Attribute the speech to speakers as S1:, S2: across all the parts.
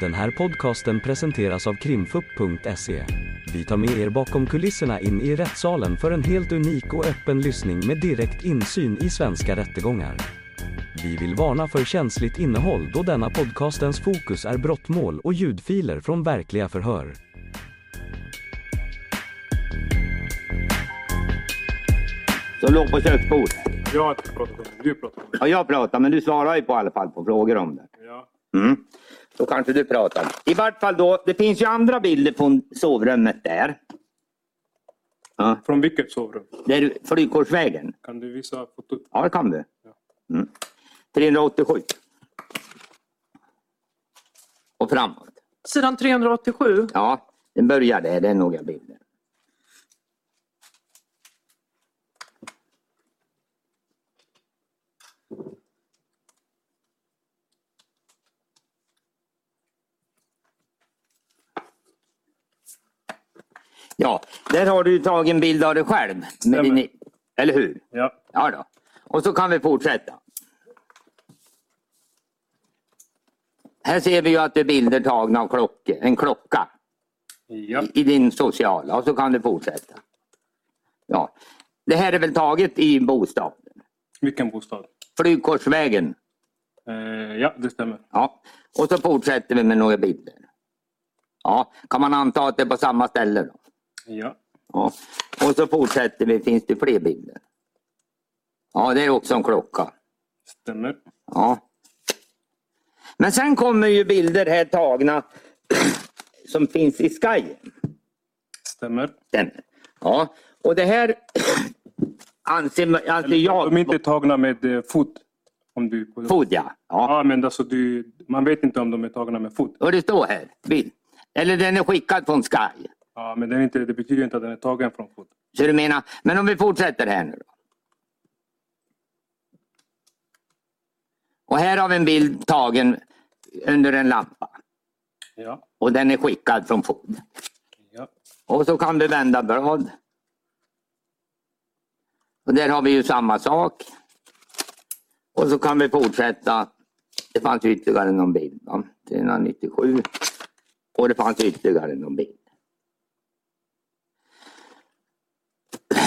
S1: Den här podcasten presenteras av krimfupp.se. Vi tar med er bakom kulisserna in i rättssalen för en helt unik och öppen lyssning med direkt insyn i svenska rättegångar. Vi vill varna för känsligt innehåll då denna podcastens fokus är brottmål och ljudfiler från verkliga förhör.
S2: Som låg på köksbordet.
S3: Jag har inte pratat om det. Du pratar om det.
S2: Ja, jag pratar, men du svarar ju på i alla fall på frågor om det.
S3: Ja.
S2: Mm. Då kanske du pratar. I vart fall då, det finns ju andra bilder från sovrummet där. Ja,
S3: Från vilket sovrum?
S2: det är Flygkorsvägen.
S3: Kan du visa fotot?
S2: Ja, det kan du. Mm. 387. Och framåt.
S4: Sidan 387.
S2: Ja, den börjar där. Det är några bilder. Ja, där har du tagit en bild av dig själv. Med
S3: Stämmer.
S2: din, eller hur?
S3: Ja.
S2: Ja då. Och så kan vi fortsätta. Här ser vi ju att det är bilder tagna av klock, en klocka
S3: Ja.
S2: i din sociala och så kan du fortsätta. Ja. Det här är väl taget i bostad?
S3: Vilken bostad?
S2: Flygkorsvägen.
S3: Eh, ja, det stämmer.
S2: Ja. Och så fortsätter vi med några bilder. Ja. Kan man anta att det är på samma ställe? Då?
S3: Ja.
S2: Ja. Och så fortsätter vi. Finns det fler bilder? Ja, det är också en klocka.
S3: Stämmer.
S2: Ja. Men sen kommer ju bilder här tagna som finns i Sky.
S3: Stämmer.
S2: Stämmer. Ja, och det här anser, anser
S3: De är
S2: jag...
S3: inte tagna med eh, fot. Om du...
S2: Fod, ja. ja.
S3: Ja, men alltså du... Man vet inte om de är tagna med fot.
S2: Och det står här. Bild. Eller den är skickad från Sky.
S3: Ja, men den är inte, det betyder inte att den är tagen från fot.
S2: Så du menar, men om vi fortsätter här nu då. Och här har vi en bild tagen under en lampa.
S3: Ja.
S2: Och den är skickad från Fod.
S3: Ja.
S2: Och så kan vi vända blad. Och där har vi ju samma sak. Och så kan vi fortsätta. Det fanns ytterligare någon bild. Va? 397. Och det fanns ytterligare någon bild.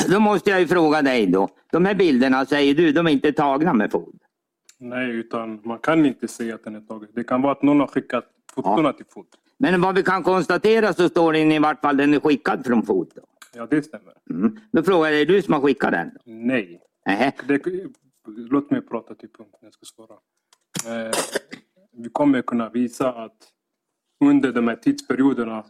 S2: Då måste jag ju fråga dig då. De här bilderna säger du, de är inte tagna med fod?
S3: Nej, utan man kan inte säga att den är tagen. Det kan vara att någon har skickat fotona till fot.
S2: Men vad vi kan konstatera så står det in i vart fall den är skickad från fot. Då,
S3: Ja, det stämmer.
S2: mm. då frågar jag, är det du som har skickat den? Då?
S3: Nej.
S2: Nähä.
S3: Det, låt mig prata till punkt när jag ska svara. Eh, vi kommer kunna visa att under de här tidsperioderna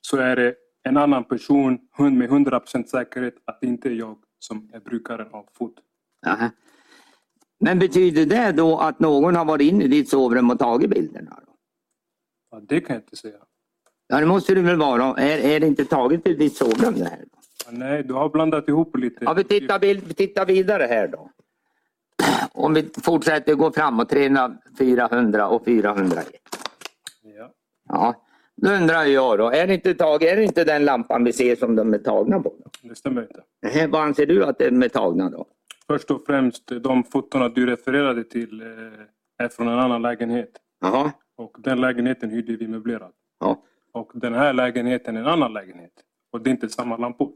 S3: så är det en annan person hund med 100% säkerhet att det inte är jag som är brukaren av fot.
S2: Jaha. Men betyder det då att någon har varit inne i ditt sovrum och tagit bilderna? Då?
S3: Ja, det kan jag inte säga.
S2: Ja, det måste det väl vara. Är, är det inte taget i ditt sovrum det här? Då?
S3: Ja, nej, du har blandat ihop lite.
S2: Ja, vi tittar, bild, vi tittar vidare här då. Om vi fortsätter gå framåt, 300, 400 och 401.
S3: Ja.
S2: Ja, då undrar jag då, är det inte, tag, är det inte den lampan vi ser som de är tagna på? Då?
S3: Det stämmer inte.
S2: Nähä, Vad anser du att de är tagna då?
S3: Först och främst, de fotona du refererade till eh, är från en annan lägenhet.
S2: Jaha,
S3: Och den lägenheten hyrde vi möblerad.
S2: ja.
S3: Och den här lägenheten är en annan lägenhet. Och det är inte samma lampor.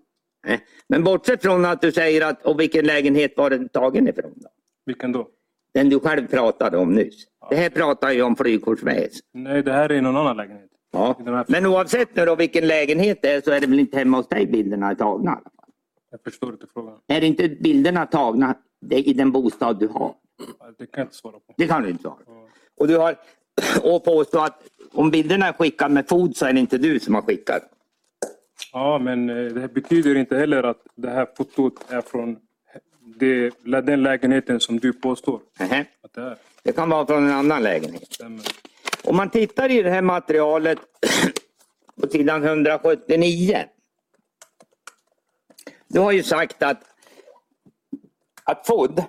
S2: Nej. Eh, Men bortsett från att du säger att, och vilken lägenhet var den tagen ifrån? Då?
S3: Vilken då?
S2: Den du själv pratade om nyss. Det här pratar ju om flygkortsväs.
S3: Nej, det här är någon annan lägenhet.
S2: Ja.
S3: I den här-
S2: Men oavsett nu då vilken lägenhet det är så är det väl inte hemma hos dig bilderna är tagna? i alla fall?
S3: Jag förstår inte frågan.
S2: Är inte bilderna tagna i den bostad du har?
S3: Det kan jag inte svara på.
S2: Det kan du inte svara på. Och du har och påstå att om bilderna är skickade med fot så är det inte du som har skickat.
S3: Ja, men eh, det här betyder inte heller att det här fotot är från det, den lägenheten som du påstår
S2: Nähä.
S3: att det är.
S2: Det kan vara från en annan lägenhet.
S3: Stämmer.
S2: Om man tittar i det här materialet på sidan 179. Du har ju sagt att, att FOD,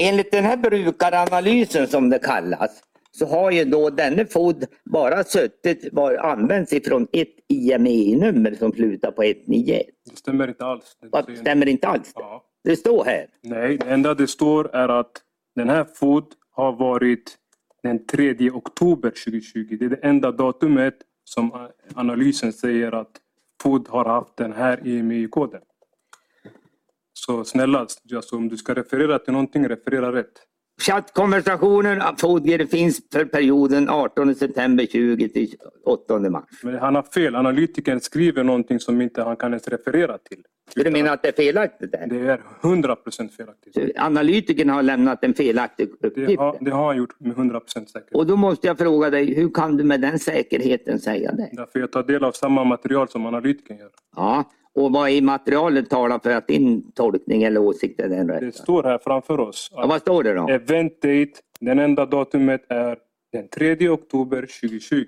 S2: enligt den här brukaranalysen som det kallas, så har ju då denne FOD bara suttit, var, använts ifrån ett IMEI-nummer som slutar på 191.
S3: Det stämmer inte alls. Det
S2: Vad,
S3: säger-
S2: Stämmer inte alls? det?
S3: Ja.
S2: Det står här.
S3: Nej, det enda det står är att den här fot har varit den 3 oktober 2020. Det är det enda datumet som eh, analysen säger att FOD har haft den här EMI-koden. Så snälla, alltså, om du ska referera till någonting, referera rätt.
S2: Chattkonversationen av Fodger finns för perioden 18 september 20 till 8 mars.
S3: Men han har fel. Analytikern skriver någonting som inte han kan ens referera till.
S2: Så du menar att det är felaktigt? Där?
S3: Det är 100% felaktigt.
S2: Så Analytikern har lämnat en felaktig
S3: Det
S2: uppgift.
S3: har, det har han gjort med 100% säkerhet.
S2: Och då måste jag fråga dig, hur kan du med den säkerheten säga det?
S3: Därför jag tar del av samma material som analytikern gör.
S2: Ja, och vad i materialet talar för att din tolkning eller åsikt är den
S3: Det
S2: rätta?
S3: står här framför oss.
S2: Ja, vad står det då?
S3: Event date, den enda datumet är den 3 oktober 2020.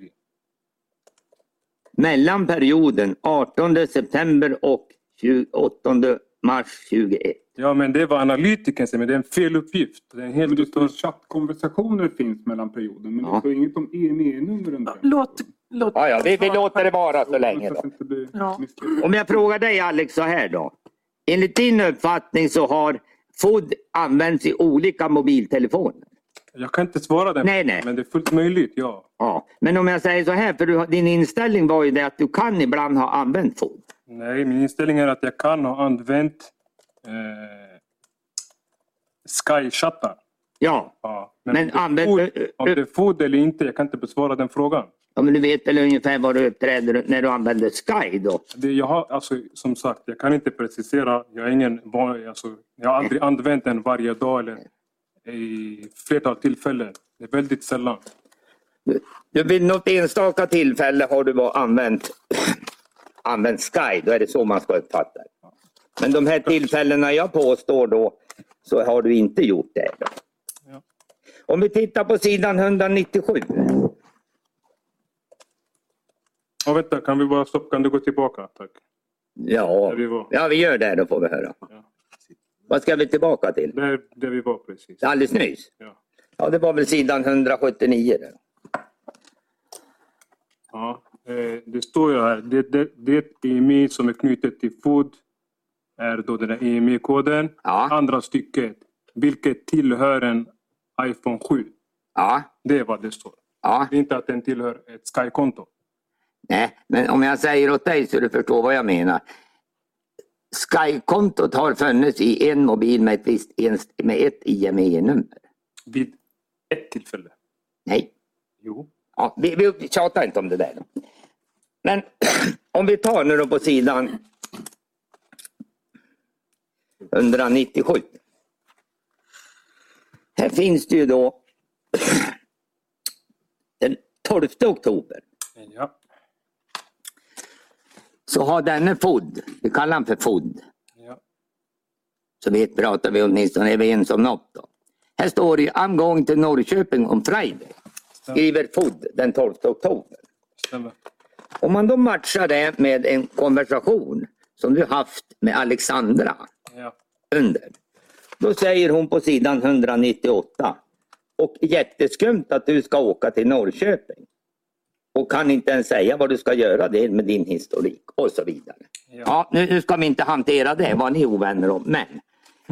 S2: Mellan perioden 18 september och 28 mars 21.
S3: Ja, men det var analytikern säger, men det är en fel uppgift. Det är en
S5: Men
S3: helt
S5: det
S3: utan...
S5: står att chattkonversationer finns mellan perioden. Men
S2: Ja.
S5: det står inget om EME-numren. där.
S4: Låt, låt,
S2: Ja, ja, vi, vi låter det vara så länge
S5: Så
S2: då.
S5: att det inte blir
S4: Ja.
S5: missförstånd.
S2: Om jag frågar dig Alex så här då. Enligt din uppfattning så har FOD använts i olika mobiltelefoner.
S3: Jag kan inte svara den,
S2: Nej, nej.
S3: men det är fullt möjligt. Ja.
S2: Ja. Men om jag säger så här, för du, har- din inställning var ju det att du kan ibland ha använt FOD.
S3: Nej, min inställning är att jag kan ha använt eh, Sky-chattar.
S2: Ja,
S3: Ja,
S2: Men
S3: om det är
S2: använd-
S3: fod- Om det är fod eller inte, jag kan inte besvara den frågan.
S2: ja men du vet väl ungefär var du uppträder när du använder Sky då?
S3: Det jag har, alltså, som sagt, jag kan inte precisera. Jag, är ingen, van- alltså, jag har aldrig använt den varje dag eller i flertal tillfällen. Det är väldigt sällan.
S2: Du, vid något enstaka tillfälle har du bara använt, använt Sky. Då är det så man ska uppfatta det. Men de här tillfällena jag påstår då, så har du inte gjort det. Då.
S3: Ja.
S2: Om vi tittar på sidan 197.
S3: Och vänta, kan vi bara stoppa? Kan du gå tillbaka? Tack.
S2: Ja,
S3: Där vi var.
S2: ja vi gör det då får vi höra.
S3: Ja.
S2: Vad ska vi tillbaka till?
S3: Där, där vi var precis.
S2: Alldeles nyss?
S3: Ja.
S2: Ja, det var väl sidan 179. Då.
S3: Ja, eh, det står ju här. Det, det, det EMI som är knutet till FOD är då den där EMI-koden.
S2: Ja.
S3: Andra stycket, vilket tillhör en iPhone 7.
S2: Ja,
S3: Det är vad det står.
S2: ja.
S3: Det är inte att den tillhör ett Sky-konto.
S2: Nej, men om jag säger åt dig så du förstår vad jag menar. Sky-kontot har funnits i en mobil med ett, visst, ens- med ett IME-nummer.
S3: Vid ett tillfälle.
S2: Nej,
S3: Jo.
S2: ja, vi, vi tjatar inte om det där. Men om vi tar nu då på sidan 197. Här finns det ju då den 12 oktober.
S3: Ja.
S2: Så har denne FOD, vi kallar han för FOD.
S3: ja.
S2: Så vi pratar vi åtminstone överens om något. Då. Här står det ju, I'm going to Norrköping on Friday. Skriver FOD den 12 oktober.
S3: Stämmer.
S2: Om man då matchar det med en konversation som du haft med Alexandra
S3: Ja.
S2: under. Då säger hon på sidan 198. Och jätteskumt att du ska åka till Norrköping. Och kan inte ens säga vad du ska göra det med din historik och så vidare. Ja,
S3: Ja.
S2: nu, nu ska vi inte hantera det, vad ni är ovänner om. Men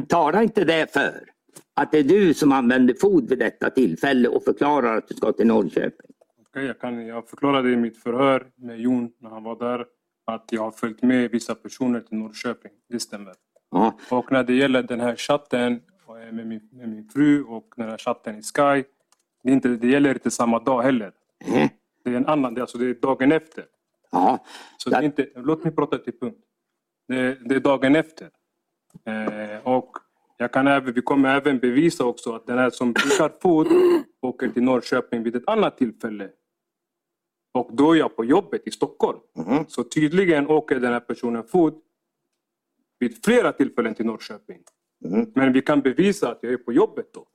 S2: tala inte det för att det är du som använder fod vid detta tillfälle och förklarar att du ska till Norrköping.
S3: Okej, jag, kan, jag förklarade i mitt förhör med Jon när han var där att jag har följt med vissa personer till Norrköping. Det stämmer.
S2: Ja,
S3: Och när det gäller den här chatten eh, med min, med min fru och den här chatten i Sky. Det, är inte, det gäller inte samma dag heller.
S2: Mhm.
S3: Det är en annan, det är alltså det är dagen efter.
S2: ja.
S3: Så det är inte, låt mig prata till punkt. Det, det är dagen efter. Eh, och jag kan även, vi kommer även bevisa också att den här som brukar fot åker till Norrköping vid ett annat tillfälle. Och då är jag på jobbet i Stockholm.
S2: Mhm.
S3: Så tydligen åker den här personen fot vid flera tillfällen till Norrköping.
S2: Mhm. Mm.
S3: Men vi kan bevisa att jag är på jobbet då.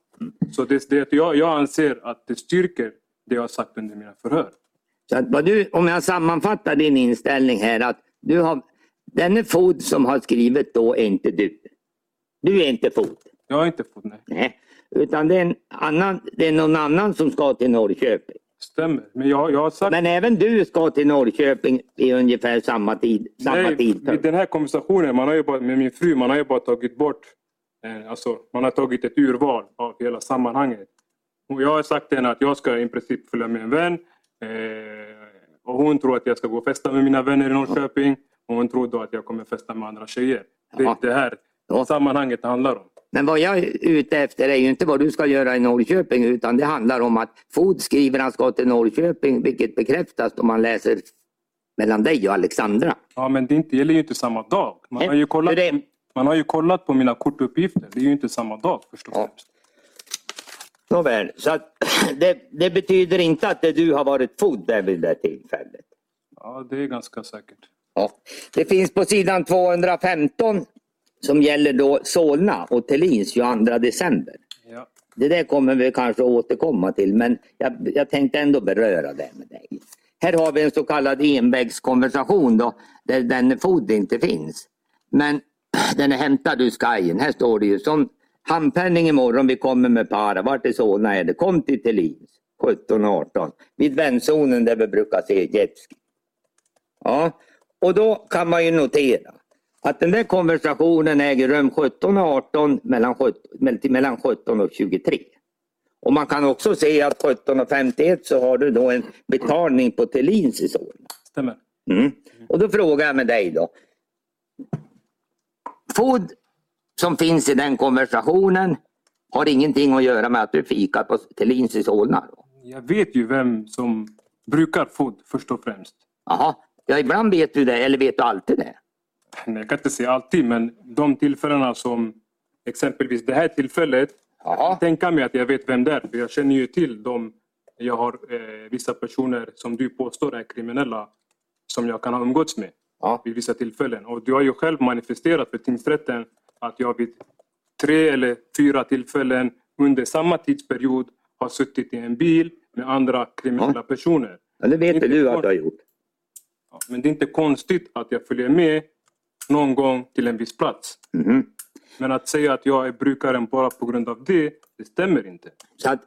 S3: Så det, det, jag, jag anser att det styrker det jag har sagt under mina förhör.
S2: Så att vad du, om jag sammanfattar din inställning här att du har, denne fod som har skrivit då är inte du. Du är inte fod.
S3: Jag har inte fått nej.
S2: Nej. Utan det är, en annan, det är någon annan som ska till Norrköping.
S3: Stämmer. Men jag, jag har sagt
S2: Men även du ska till Norrköping i ungefär samma tid. typ. Samma
S3: vid
S2: tidpunkt.
S3: den här konversationen man har ju bara, med min fru, man har ju bara tagit bort, eh, alltså, man har tagit ett urval av hela sammanhanget. Och jag har sagt till henne att jag ska i princip följa med en vän. Eh, och hon tror att jag ska gå och festa med mina vänner i Norrköping. Och hon tror då att jag kommer festa med andra tjejer.
S2: Ja.
S3: Det är det här
S2: Ja.
S3: sammanhanget det handlar om.
S2: Men vad jag är ute efter är ju inte vad du ska göra i Norrköping utan det handlar om att Fod skriver han ska till Norrköping vilket bekräftas om man läser mellan dig och Alexandra.
S3: Ja, men det är inte, gäller ju inte samma dag. Man
S2: Nej,
S3: har ju, kollat,
S2: hur är det?
S3: man har ju kollat på mina kortuppgifter. Det är ju inte samma dag förstås.
S2: Ja. Nåväl, så att det, det betyder inte att det du har varit Fod där vid det tillfället.
S3: Ja, det är ganska säkert.
S2: Ja. Det finns på sidan 215 som gäller då Solna och Thelins 22 december.
S3: Ja.
S2: Det där kommer vi kanske att återkomma till men jag, jag tänkte ändå beröra det med dig. Här har vi en så kallad envägskonversation då, där den fod inte finns. Men den är hämtad ur Skyen. Här står det ju som handpenning imorgon vi kommer med para. Vart i Solna är det? Kom till Thelins 17-18 vid vändzonen där vi brukar se jetski. Ja, och då kan man ju notera att den där konversationen äger rum 17 och 18 mellan 17, mell- till mellan 17 och 23. Och man kan också se att 17 och 51 så har du då en betalning på Thelins i Solna.
S3: Stämmer.
S2: Mm. Och då frågar jag med dig då. Fod som finns i den konversationen har ingenting att göra med att du fikar på Thelins i Solna? Då.
S3: Jag vet ju vem som brukar fot först och främst.
S2: Jaha, ja ibland vet du det eller vet du alltid det?
S3: Nej, Jag kan inte säga alltid, men de tillfällena som exempelvis det här tillfället. Jag
S2: Jaha.
S3: kan tänka mig att jag vet vem det är, för jag känner ju till dem. Jag har eh, vissa personer som du påstår är kriminella som jag kan ha umgåtts med
S2: Ja.
S3: vid vissa tillfällen. Och du har ju själv manifesterat för tingsrätten att jag vid tre eller fyra tillfällen under samma tidsperiod har suttit i en bil med andra kriminella
S2: Ja.
S3: personer.
S2: Ja, det vet
S3: Inte
S2: väl du att
S3: klart.
S2: du har gjort?
S3: Ja, Men det är inte konstigt att jag följer med någon gång till en viss plats.
S2: Mhm.
S3: Men att säga att jag är brukaren bara på grund av det, det stämmer inte.
S2: Så att,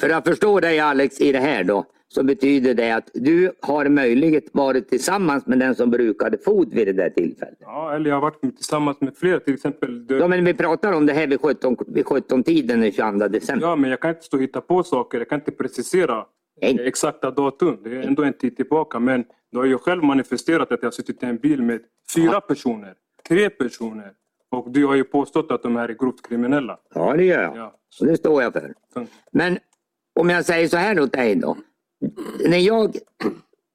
S2: för att förstå dig Alex i det här då, så betyder det att du har möjligt varit tillsammans med den som brukade fod vid det där tillfället.
S3: Ja, eller jag har varit med- tillsammans med flera, till exempel.
S2: Ja,
S3: Du,
S2: men vi pratar om det här vid 17 vid 17-tiden den 22 december.
S3: ja, men jag kan inte stå och hitta på saker. Jag kan inte precisera
S2: Nej.
S3: eh, exakta datum. Det är ändå en tid tillbaka. Men du har ju själv manifesterat att jag har suttit i en bil med fyra personer, tre personer. Och du har ju påstått att de här är grovt kriminella.
S2: Ja, det gör jag.
S3: Ja,
S2: Och det står jag för.
S3: så-
S2: Men om jag säger så här åt dig då. När jag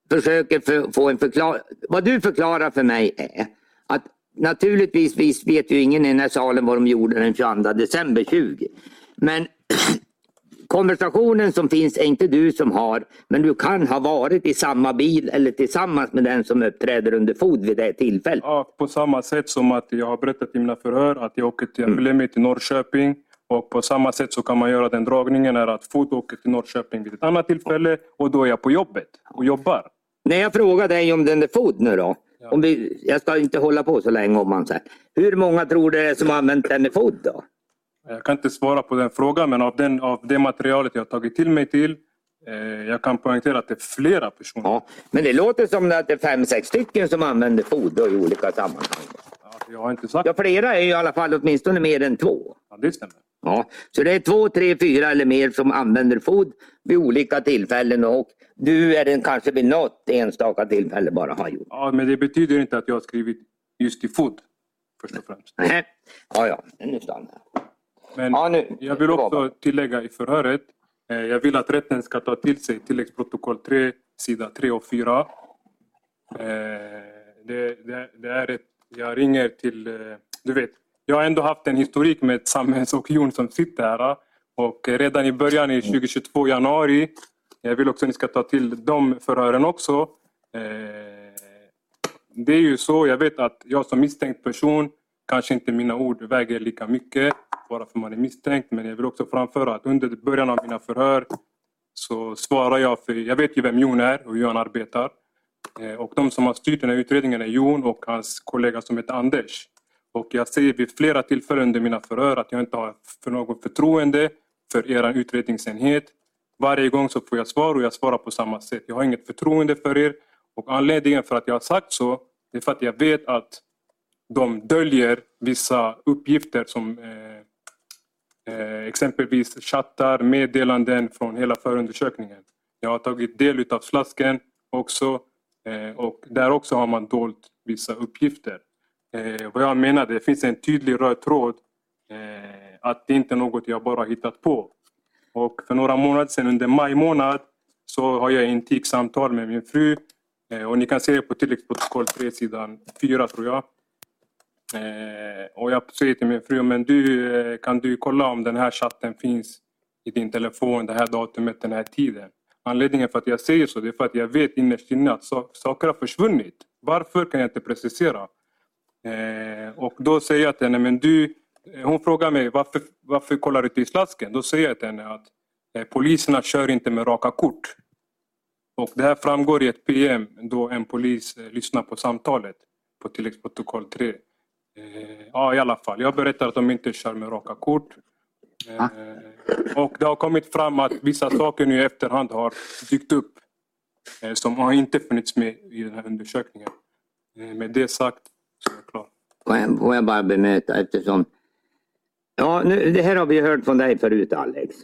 S2: försöker för, få en förklaring. Vad du förklarar för mig är att naturligtvis vis- vet ju ingen i den här salen vad de gjorde den 22 december 20. Men konversationen som finns är inte du som har. Men du kan ha varit i samma bil eller tillsammans med den som uppträder under fod vid det tillfället.
S3: Ja, på samma sätt som att jag har berättat i mina förhör att jag åker till, jag
S2: Mm.
S3: följer med till Norrköping. Och på samma sätt så kan man göra den dragningen är att Fot åker till Norrköping vid ett annat tillfälle och då är jag på jobbet och jobbar.
S2: När jag frågar dig om den där fod nu då.
S3: Ja.
S2: Om vi, jag ska inte hålla på så länge om man säger. Hur många tror du det är som har använt den i fod då?
S3: Jag kan inte svara på den frågan men av, den, av det materialet jag har tagit till mig till eh, jag kan poängtera att det är flera personer.
S2: Ja, men det låter som att det är fem, sex stycken som använder fod då i olika sammanhang.
S3: Ja, Jag har inte sagt
S2: Ja, flera är ju i alla fall åtminstone mer än två.
S3: ja, det stämmer.
S2: Ja, så det är två, tre, fyra eller mer som använder fod vid olika tillfällen och du är den kanske vid något enstaka tillfälle bara har gjort.
S3: Ja, men det betyder inte att jag har skrivit just i Fot först och främst.
S2: Nähä. Ja, ja, nu stannar jag.
S3: Men
S2: Ja, nu-
S3: jag vill
S2: det var bara-
S3: också tillägga i förhöret. eh, Jag vill att rätten ska ta till sig tilläggsprotokoll 3, sida 3 och 4. Eh, Det, det, det är ett, jag ringer till... eh, Du vet, jag har ändå haft en historik med ett samhällsopinion som sitter här. eh, Och eh, redan i början i 2022, januari. Jag vill också att ni ska ta till de förhören också. Eh, det är ju så, jag vet att jag som misstänkt person kanske inte mina ord väger lika mycket bara för man är misstänkt. Men jag vill också framföra att under början av mina förhör så svarar jag för, jag vet ju vem Jon är och hur han arbetar. Eh, Och de som har styrt den här utredningen är Jon och hans kollega som heter Anders. Och jag säger vid flera tillfällen under mina förhör att jag inte har för något förtroende för er utredningsenhet. Varje gång så får jag svar och jag svarar på samma sätt. Jag har inget förtroende för er. Och anledningen för att jag har sagt så, det är för att jag vet att de döljer vissa uppgifter som eh, eh, eh, exempelvis chattar, meddelanden från hela förundersökningen. Jag har tagit del av slasken också eh, och där också har man dolt vissa uppgifter. Eh, vad jag menar, det finns en tydlig röd tråd eh, att det inte är något jag bara hittat på. Och för några månader sedan, under maj månad, så har jag intiksamtal med min fru. Eh, och ni kan se det på tilläggsprotokoll 3, sidan 4 tror jag. Eh, och jag säger till min fru, men du, eh, kan du kolla om den här chatten finns i din telefon, det här datumet, den här tiden? Anledningen för att jag säger så, det är för att jag vet innerst inne att sa- saker har försvunnit. Varför kan jag inte precisera? Eh, och då säger jag till henne, men du, eh, hon frågar mig varför, varför kollar du till slasken? Då säger jag till henne att eh, poliserna kör inte med raka kort. Och det här framgår i ett PM då en polis eh, lyssnar på samtalet på tilläggsprotokoll 3. Eh, ja, i alla fall. Jag berättar att de inte kör med raka kort. Eh, och det har kommit fram att vissa saker nu i efterhand har dykt upp eh, som har inte funnits med i den här undersökningen. Eh, med det sagt så är jag klar.
S2: Får jag, får jag bara bemöta eftersom... Ja, nu, det här har vi hört från dig förut Alex.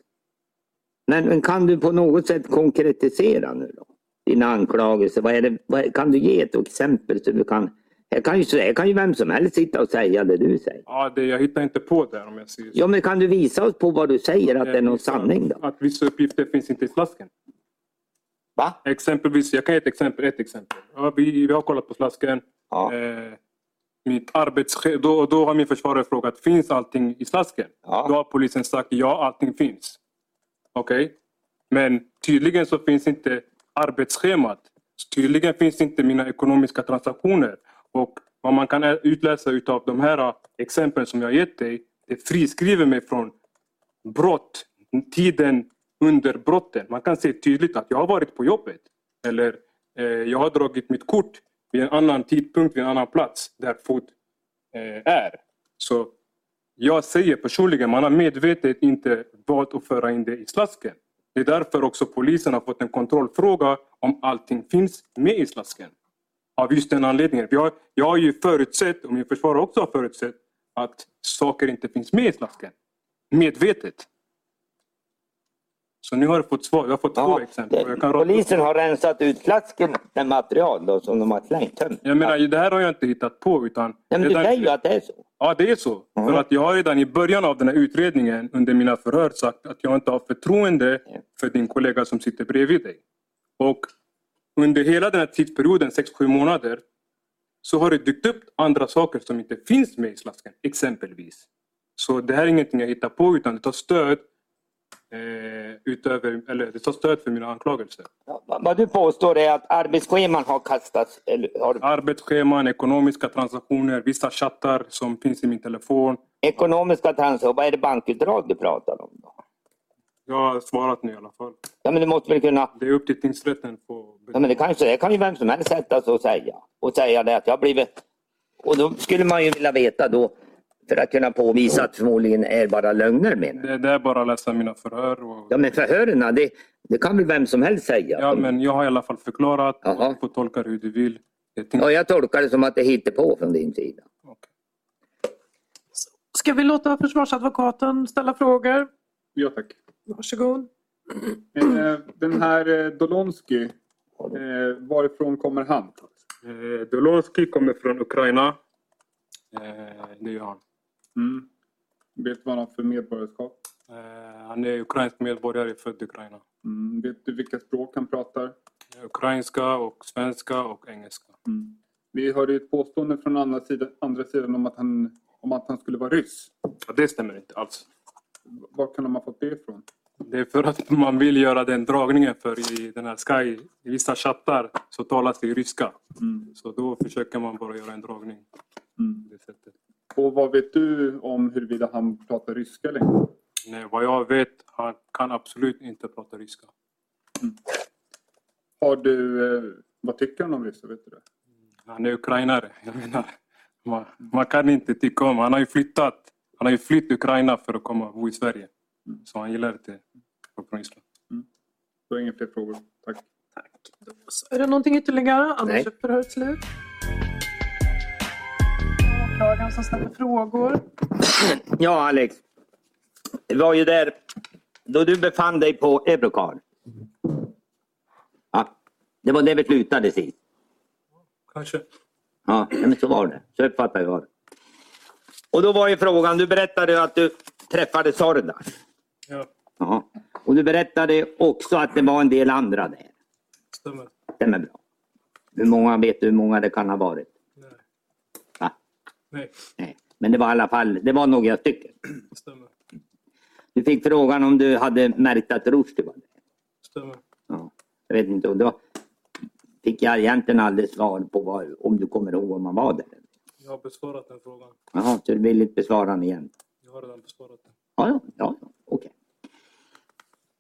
S2: Men, men kan du på något sätt konkretisera nu då? Dina anklagelser. Vad är det, vad, kan du ge ett exempel? Så du kan, här, kan ju, så här kan ju vem som helst sitta och säga det du säger.
S3: Ja, det, jag hittar inte på det om jag säger så.
S2: Ja, men kan du visa oss på vad du säger att det är någon
S3: vissa-
S2: sanning då?
S3: Att vissa uppgifter finns inte i slasken.
S2: Va?
S3: Exempelvis, jag kan ge ett exempel. Ett exempel. Ja, vi, vi har kollat på slasken.
S2: Ja,
S3: Eh, mitt arbetschef, då, då har min försvarare frågat, finns allting i slasken?
S2: Ja.
S3: Då har polisen sagt, ja allting finns. Okej? Men tydligen så finns inte arbetsschemat. Tydligen finns inte mina ekonomiska transaktioner. Och vad man kan ä- utläsa utav de här exemplen som jag gett dig, det friskriver mig från brott, tiden under brotten. Man kan se tydligt att jag har varit på jobbet. Eller eh, jag har dragit mitt kort vid en annan tidpunkt, vid en annan plats där fot eh, är. Så jag säger personligen, man har medvetet inte valt att föra in det i slasken. Det är därför också polisen har fått en kontrollfråga om allting finns med i slasken. Av just den anledningen. Jag, jag har ju förutsett, och min försvarare också har förutsett, att saker inte finns med i slasken. Medvetet. Så nu har jag fått svar. Jag har fått två
S2: ja,
S3: exempel. och
S2: det,
S3: Jag kan rada upp
S2: polisen har rensat ut flasken med material då, som de har slängt. tömt.
S3: Jag menar, det här har jag inte hittat på. Utan
S2: Nej, men du
S3: redan-
S2: säger ju att det är så.
S3: Ja, det är så.
S2: Ja.
S3: För att jag har redan i början av den här utredningen under mina förhör sagt att jag inte har förtroende
S2: Ja.
S3: för din kollega som sitter bredvid dig. Och under hela den här tidsperioden, 6-7 månader, så har det dykt upp andra saker som inte finns med i slasken, exempelvis. Så det här är ingenting jag hittar på utan det tar stöd, eh, utöver, eller det tar stöd för mina anklagelser.
S2: Ja, vad- Vad du påstår är att arbetsscheman har kastats... Eller, har,
S3: Arbetsscheman, ekonomiska transaktioner, vissa chattar som finns i min telefon.
S2: Ekonomiska transaktioner, vad är det bankutdrag du pratar om? då?
S3: Jag har svarat nu i alla fall.
S2: Ja, men du måste väl kunna...
S3: Det är upp till tingsrätten. På...
S2: Ja, men det, kan ju, det kan ju vem som helst sätta sig och säga. Och säga det att jag har blivit... Och då skulle man ju vilja veta då, för att kunna påvisa att förmodligen är bara lögner menar jag.
S3: Det, det är bara att läsa mina förhör. Och...
S2: Ja, men förhörerna, det, det kan väl vem som helst säga.
S3: Ja, men jag har i alla fall förklarat.
S2: Jaha.
S3: Och du får tolka det hur du vill. Det är tings...
S2: ja, jag tolkar det som att det är på från din sida.
S3: Okej.
S4: Ska vi låta försvarsadvokaten ställa frågor?
S5: Ja tack.
S4: Varsågod.
S5: Eh, Den här eh, Dolonski, eh, varifrån kommer han?
S3: Eh, Dolonski kommer från Ukraina. Eh, det gör han.
S5: Mm. Vet du vad han har för medborgarskap?
S3: Eh, han är ukrainsk medborgare, född i Ukraina.
S5: Mm. Vet du vilka språk han pratar?
S3: Eh, Ukrainska, och svenska och engelska.
S5: Mm. Vi hörde ju ett påstående från andra sidan, andra sidan om, att han, om att han skulle vara ryss.
S3: Ja, det stämmer inte alls.
S5: Var kan de ha fått det ifrån?
S3: Det är för att man vill göra den dragningen för i den här Sky, i vissa chattar så talas det i ryska.
S5: Mm.
S3: Så då försöker man bara göra en dragning på
S5: Mm.
S3: det sättet.
S5: Och vad vet du om huruvida han pratar ryska eller inte?
S3: Nej, vad jag vet, han kan absolut inte prata ryska.
S5: Har du, eh, vad tycker han om ryssar? Vet du det?
S3: Han är ukrainare. Jag menar, man, man kan inte tycka om. Han har ju flyttat. Han har ju flytt Ukraina för att komma och bo i Sverige. Så han gillar inte folk från Ryssland.
S5: Du har inga fler frågor. Tack.
S4: Så Är det någonting ytterligare?
S2: Nej.
S4: Annars är förhöret slut. Åklagaren som ställer frågor.
S2: Ja, Alex. Det var ju där då du befann dig på Eurocar. Ja, det var det vi slutade sist.
S3: Kanske.
S2: Ja, nej, men så var det. Så uppfattar jag det. Och då var ju frågan, du berättade ju att du träffade Sordas.
S3: Ja,
S2: Ja. Och du berättade också att det var en del andra där.
S3: stämmer.
S2: Stämmer bra. Hur många vet du hur många det kan ha varit?
S3: Nej,
S2: Va?
S3: nej,
S2: Nej. Men det var i alla fall, det var några stycken.
S3: stämmer.
S2: Du fick frågan om du hade märkt att Rushdie var där.
S3: Stämmer.
S2: Ja. Jag vet inte, och då fick jag egentligen aldrig svar på vad, om du kommer ihåg om han var där.
S3: Jag har besvarat den frågan.
S2: Jaha, så du vill inte besvara den igen?
S3: Jag har redan besvarat den.
S2: Ja, ja, ja, ja. okej.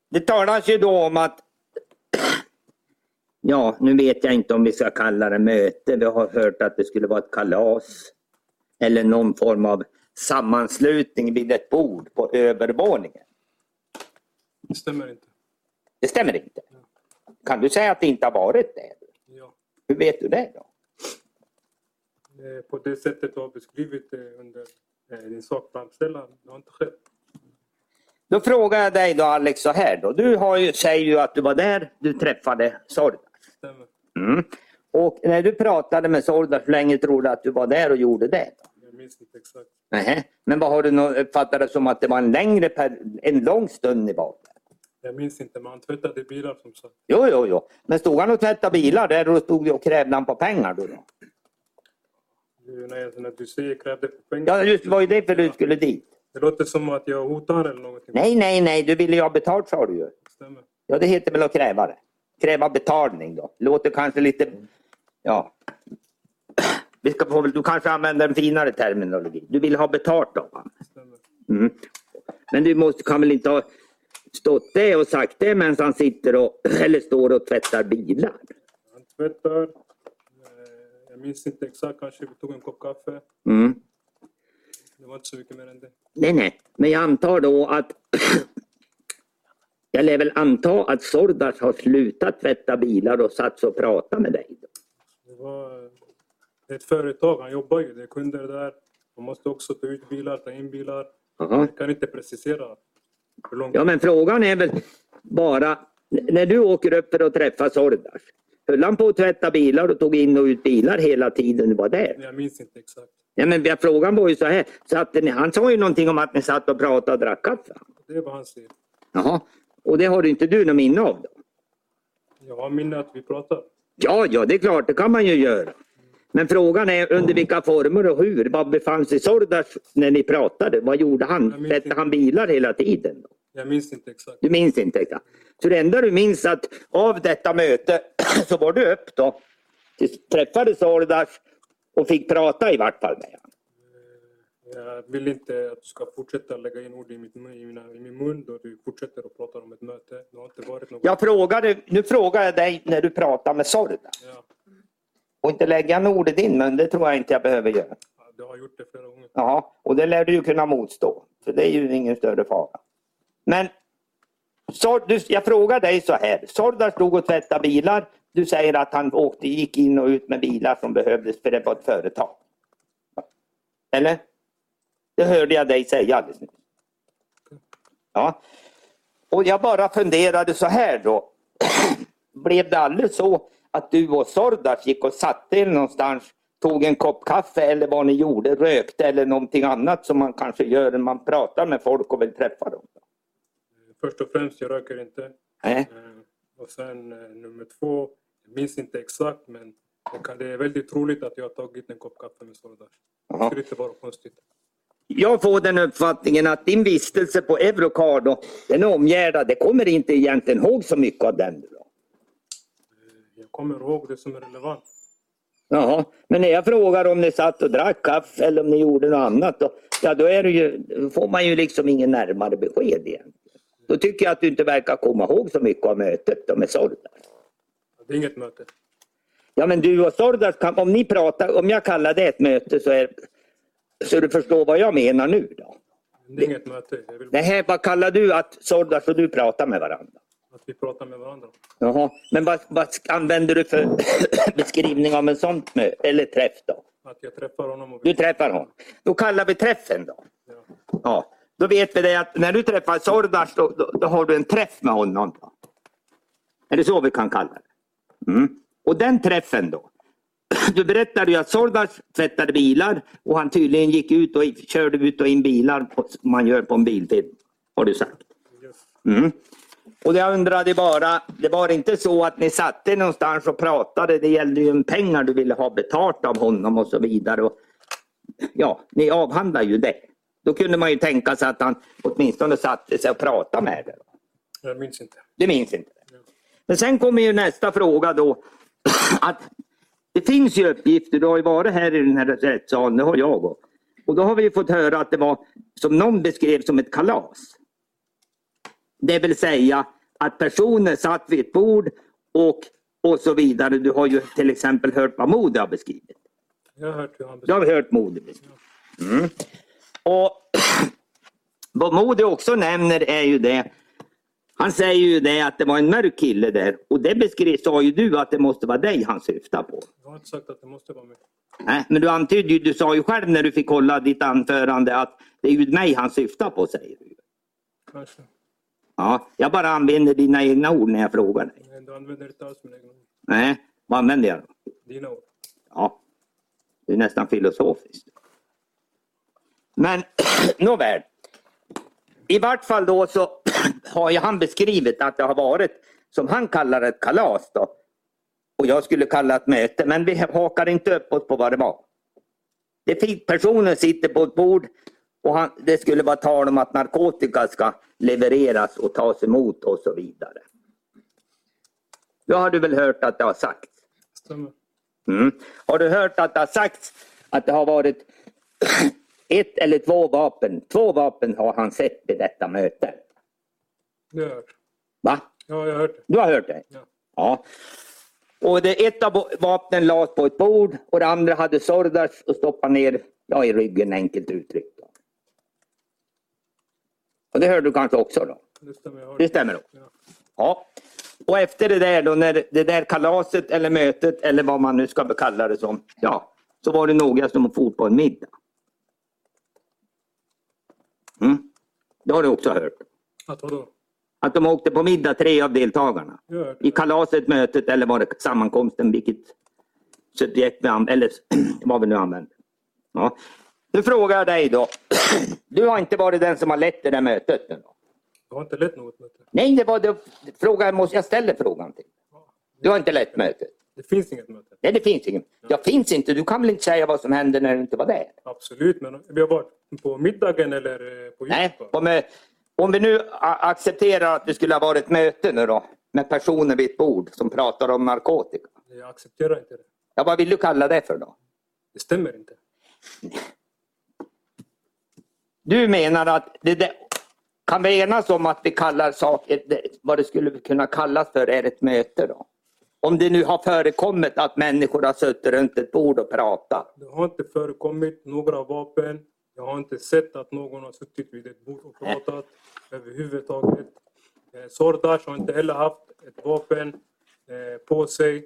S2: Det talas ju då om att Ja, nu vet jag inte om vi ska kalla det möte. Vi har hört att det skulle vara ett kalas. Eller någon form av sammanslutning vid ett bord på övervåningen.
S3: Det stämmer inte.
S2: Det stämmer inte. Kan du säga att det inte har varit det?
S3: Ja.
S2: Hur vet du det då?
S3: Eh, På det sättet du har beskrivit det under eh, din sakframställan, det har inte skett.
S2: Då frågar jag dig då Alex så här då. Du har ju, säger ju att du var där, du träffade Sordas.
S3: Stämmer.
S2: Mm. Och när du pratade med Sordas, hur länge tror du att du var där och gjorde det? Då?
S3: Jag minns inte exakt.
S2: Nähä. Men vad har du nå- uppfattat det som att det var en längre per, en lång stund ni var där?
S3: Jag minns inte, men han tvättade bilar som sagt.
S2: Jo, jo, jo. Men stod han och tvättade bilar där och stod du och krävde han på pengar då? då?
S3: Nu När, jag, när du säger krävde på pengar.
S2: Ja, just det var ju det för du skulle dit.
S3: Det låter som att jag hotar eller någonting.
S2: Nej, nej, nej, du ville ju ha betalt sa du ju.
S3: Stämmer.
S2: Ja, det heter väl att kräva det. Kräva betalning då. Låter kanske lite... Ja. Vi ska få, du kanske använder en finare terminologi. Du vill ha betalt då? Va?
S3: Stämmer.
S2: Mm. Men du måste, kan väl inte ha stått det och sagt det medan han sitter och, eller står och tvättar bilar?
S3: Han tvättar. Eh, Jag minns inte exakt, kanske vi tog en kopp kaffe.
S2: Mm.
S3: Det var inte så mycket mer än det.
S2: Nej, nej. Men jag antar då att... jag lär väl anta att Sordas har slutat tvätta bilar och satt sig och pratat med dig. Då.
S3: Det, var, det är ett företag, han jobbar ju. Det är kunder där. Man måste också ta ut bilar, ta in bilar.
S2: Jaha.
S3: Jag kan inte precisera hur långt.
S2: Ja, men frågan är väl bara, n- när du åker upp för att träffa Sordas, höll han på att tvätta bilar och tog in och ut bilar hela tiden du var där?
S3: Jag minns inte exakt.
S2: Ja, men vi- frågan var ju så här, så att ni, han sa ju någonting om att ni satt och pratade och drack kaffe.
S3: Det är vad han säger.
S2: Jaha, och det har du inte du något minne av då?
S3: Jag har minne att vi pratar.
S2: Ja, ja, det är klart, det kan man ju göra. Men frågan är under vilka former och hur? Vad befann sig Sordas när ni pratade? Vad gjorde
S3: Jag
S2: han?
S3: minns
S2: Tvättade
S3: inte.
S2: han bilar hela tiden? Då?
S3: Jag minns inte exakt.
S2: Du minns inte exakt. Så det enda du minns att av detta möte så var du upp då. Du träffade Sordas och fick prata i vart fall med honom.
S3: Jag vill inte att du ska fortsätta lägga in ord i, mitt, mun- i, mina, i min mun då du fortsätter att prata om ett möte. Det har inte varit något.
S2: Jag frågade, nu frågar jag dig när du pratar med Sordas.
S3: Ja,
S2: Och inte lägga en ord i din mun, det tror jag inte jag behöver göra.
S3: du har gjort det flera gånger.
S2: Jaha, och det lär du ju kunna motstå. Så det är ju ingen större fara. Men Sor- du, jag frågar dig så här. Sordas stod och tvättade bilar. Du säger att han åkte, gick in och ut med bilar som behövdes för det var ett företag. Eller? Det hörde jag dig säga alldeles nyss. Ja. Och jag bara funderade så här då. Blev det aldrig så att du och Sordas gick och satte er någonstans, tog en kopp kaffe eller vad ni gjorde, rökte eller någonting annat som man kanske gör när man pratar med folk och vill träffa dem?
S3: Först och främst, jag röker inte.
S2: Nej.
S3: Eh, Och sen eh, nummer två, jag minns inte exakt men det, kan, det är väldigt troligt att jag har tagit en kopp kaffe med Sordar. Det
S2: Jaha.
S3: skulle inte vara konstigt.
S2: Jag får den uppfattningen att din vistelse på Eurocar då, den är omgärdad. Det kommer inte egentligen ihåg så mycket av den. Då.
S3: Jag kommer ihåg det som är relevant.
S2: Jaha. Men när jag frågar om ni satt och drack kaffe eller om ni gjorde något annat. Då, ja, då, är det ju, då får man ju liksom ingen närmare besked egentligen. Då tycker jag att du inte verkar komma ihåg så mycket av mötet då med Sordas.
S3: Det är inget möte.
S2: Ja men du och Sordas, kan, om ni pratar, om jag kallar det ett möte så är så du förstår vad jag menar nu då.
S3: Det är inget möte. Jag vill
S2: Det
S3: bara
S2: här, vad kallar du att Sordas och du pratar med varandra?
S3: att vi pratar med varandra.
S2: Jaha, men vad, vad sk- använder du för beskrivning om en sån mö- eller träff då?
S3: Att jag träffar honom och
S2: Du
S3: vi...
S2: träffar honom. Då kallar vi träffen då.
S3: Ja.
S2: Ja. Då vet vi det att när du träffar Sordas då, då, då har du en träff med honom. Då. Är det så vi kan kalla det? Mm. Och den träffen då. Du berättade ju att Sordas tvättade bilar och han tydligen gick ut och körde ut och in bilar på, som man gör på en bilfilm. Har du sagt. Mm. Och jag undrade bara, det var inte så att ni satte er någonstans och pratade. Det gällde ju en pengar du ville ha betalt av honom och så vidare. Och, ja, ni avhandlar ju det. Då kunde man ju tänka sig att han åtminstone satte sig och pratade med er.
S3: Jag minns inte.
S2: Det minns inte. Men sen kommer ju nästa fråga då. Att det finns ju uppgifter, du har ju varit här i den här rättssalen, det har jag också. Och då har vi ju fått höra att det var, som någon beskrev som ett kalas. Det vill säga att personer satt vid ett bord och, och så vidare. Du har ju till exempel hört vad Modi har beskrivit.
S3: Jag har hört hur han
S2: Du
S3: beskrev
S2: har hört Modi beskriva. Mm. Och vad Modi också nämner är ju det. Han säger ju det att det var en mörk kille där och det beskrevs, sa ju du att det måste vara dig han syftar på.
S3: Jag har inte sagt att det måste vara mig.
S2: Nej, men du antydde ju, du sa ju själv när du fick hålla ditt anförande att det är ju mig han syftar på säger du.
S3: Kanske.
S2: Ja, jag bara använder dina egna ord när jag frågar dig.
S3: Nej, du använder inte alls mina egna ord.
S2: Nej, vad använder jag då?
S3: Dina ord.
S2: Ja, det är nästan filosofiskt. Men nåväl. I vart fall då så har ju han beskrivit att det har varit som han kallar ett kalas då. Och jag skulle kalla ett möte men vi hakar inte upp oss på vad det var. Det fick, personen sitter på ett bord och han, det skulle vara tal om att narkotika ska levereras och tas emot och så vidare. Då har du väl hört att det har sagts?
S3: Stämmer.
S2: Mm. Har du hört att det har sagts att det har varit ett eller två vapen? Två vapen har han sett vid detta möte.
S3: Det har jag hört.
S2: Va?
S3: Ja, jag har hört det.
S2: Du har hört det?
S3: Ja.
S2: Ja. Och det, ett av vapnen lades på ett bord och det andra hade Sordas och stoppade ner ja, i ryggen enkelt uttryckt. Och det hörde du kanske också då?
S3: Det stämmer. Jag har
S2: Det
S3: hört det.
S2: stämmer då?
S3: Ja.
S2: Ja. Och efter det där då, när det där kalaset eller mötet eller vad man nu ska kalla det som, ja, så var det några som fot på en middag. Mm. Det har du också hört.
S3: Att vadå?
S2: Att de åkte på middag, tre av deltagarna.
S3: Jag har hört
S2: I
S3: det.
S2: kalaset, mötet eller var det sammankomsten, vilket subjekt vi använder, eller vad vi nu använder. Ja. Nu frågar jag dig då. Du har inte varit den som har lett det där mötet? Nu då.
S3: Jag har inte lett något möte.
S2: Nej, det var det frågan, måste jag ställa frågan till. Du har inte lett mötet?
S3: Det finns inget möte.
S2: Nej, det finns ingen. Jag finns inte. Du kan väl inte säga vad som hände när du inte var där?
S3: Absolut, men vi har varit på middagen eller eh, på
S2: Nej,
S3: djupet.
S2: om, eh, om vi nu a- accepterar att det skulle ha varit ett möte nu då med personer vid ett bord som pratar om narkotika.
S3: Jag accepterar inte det.
S2: Ja, vad vill du kalla det för då?
S3: Det stämmer inte.
S2: Du menar att det, det kan vi enas om att vi kallar saker, det, vad det skulle kunna kallas för är ett möte då? Om det nu har förekommit att människor har suttit runt ett bord och pratat.
S3: Det har inte förekommit några vapen. Jag har inte sett att någon har suttit vid ett bord och pratat överhuvudtaget. Eh, Sordas har inte heller haft ett vapen eh, på sig.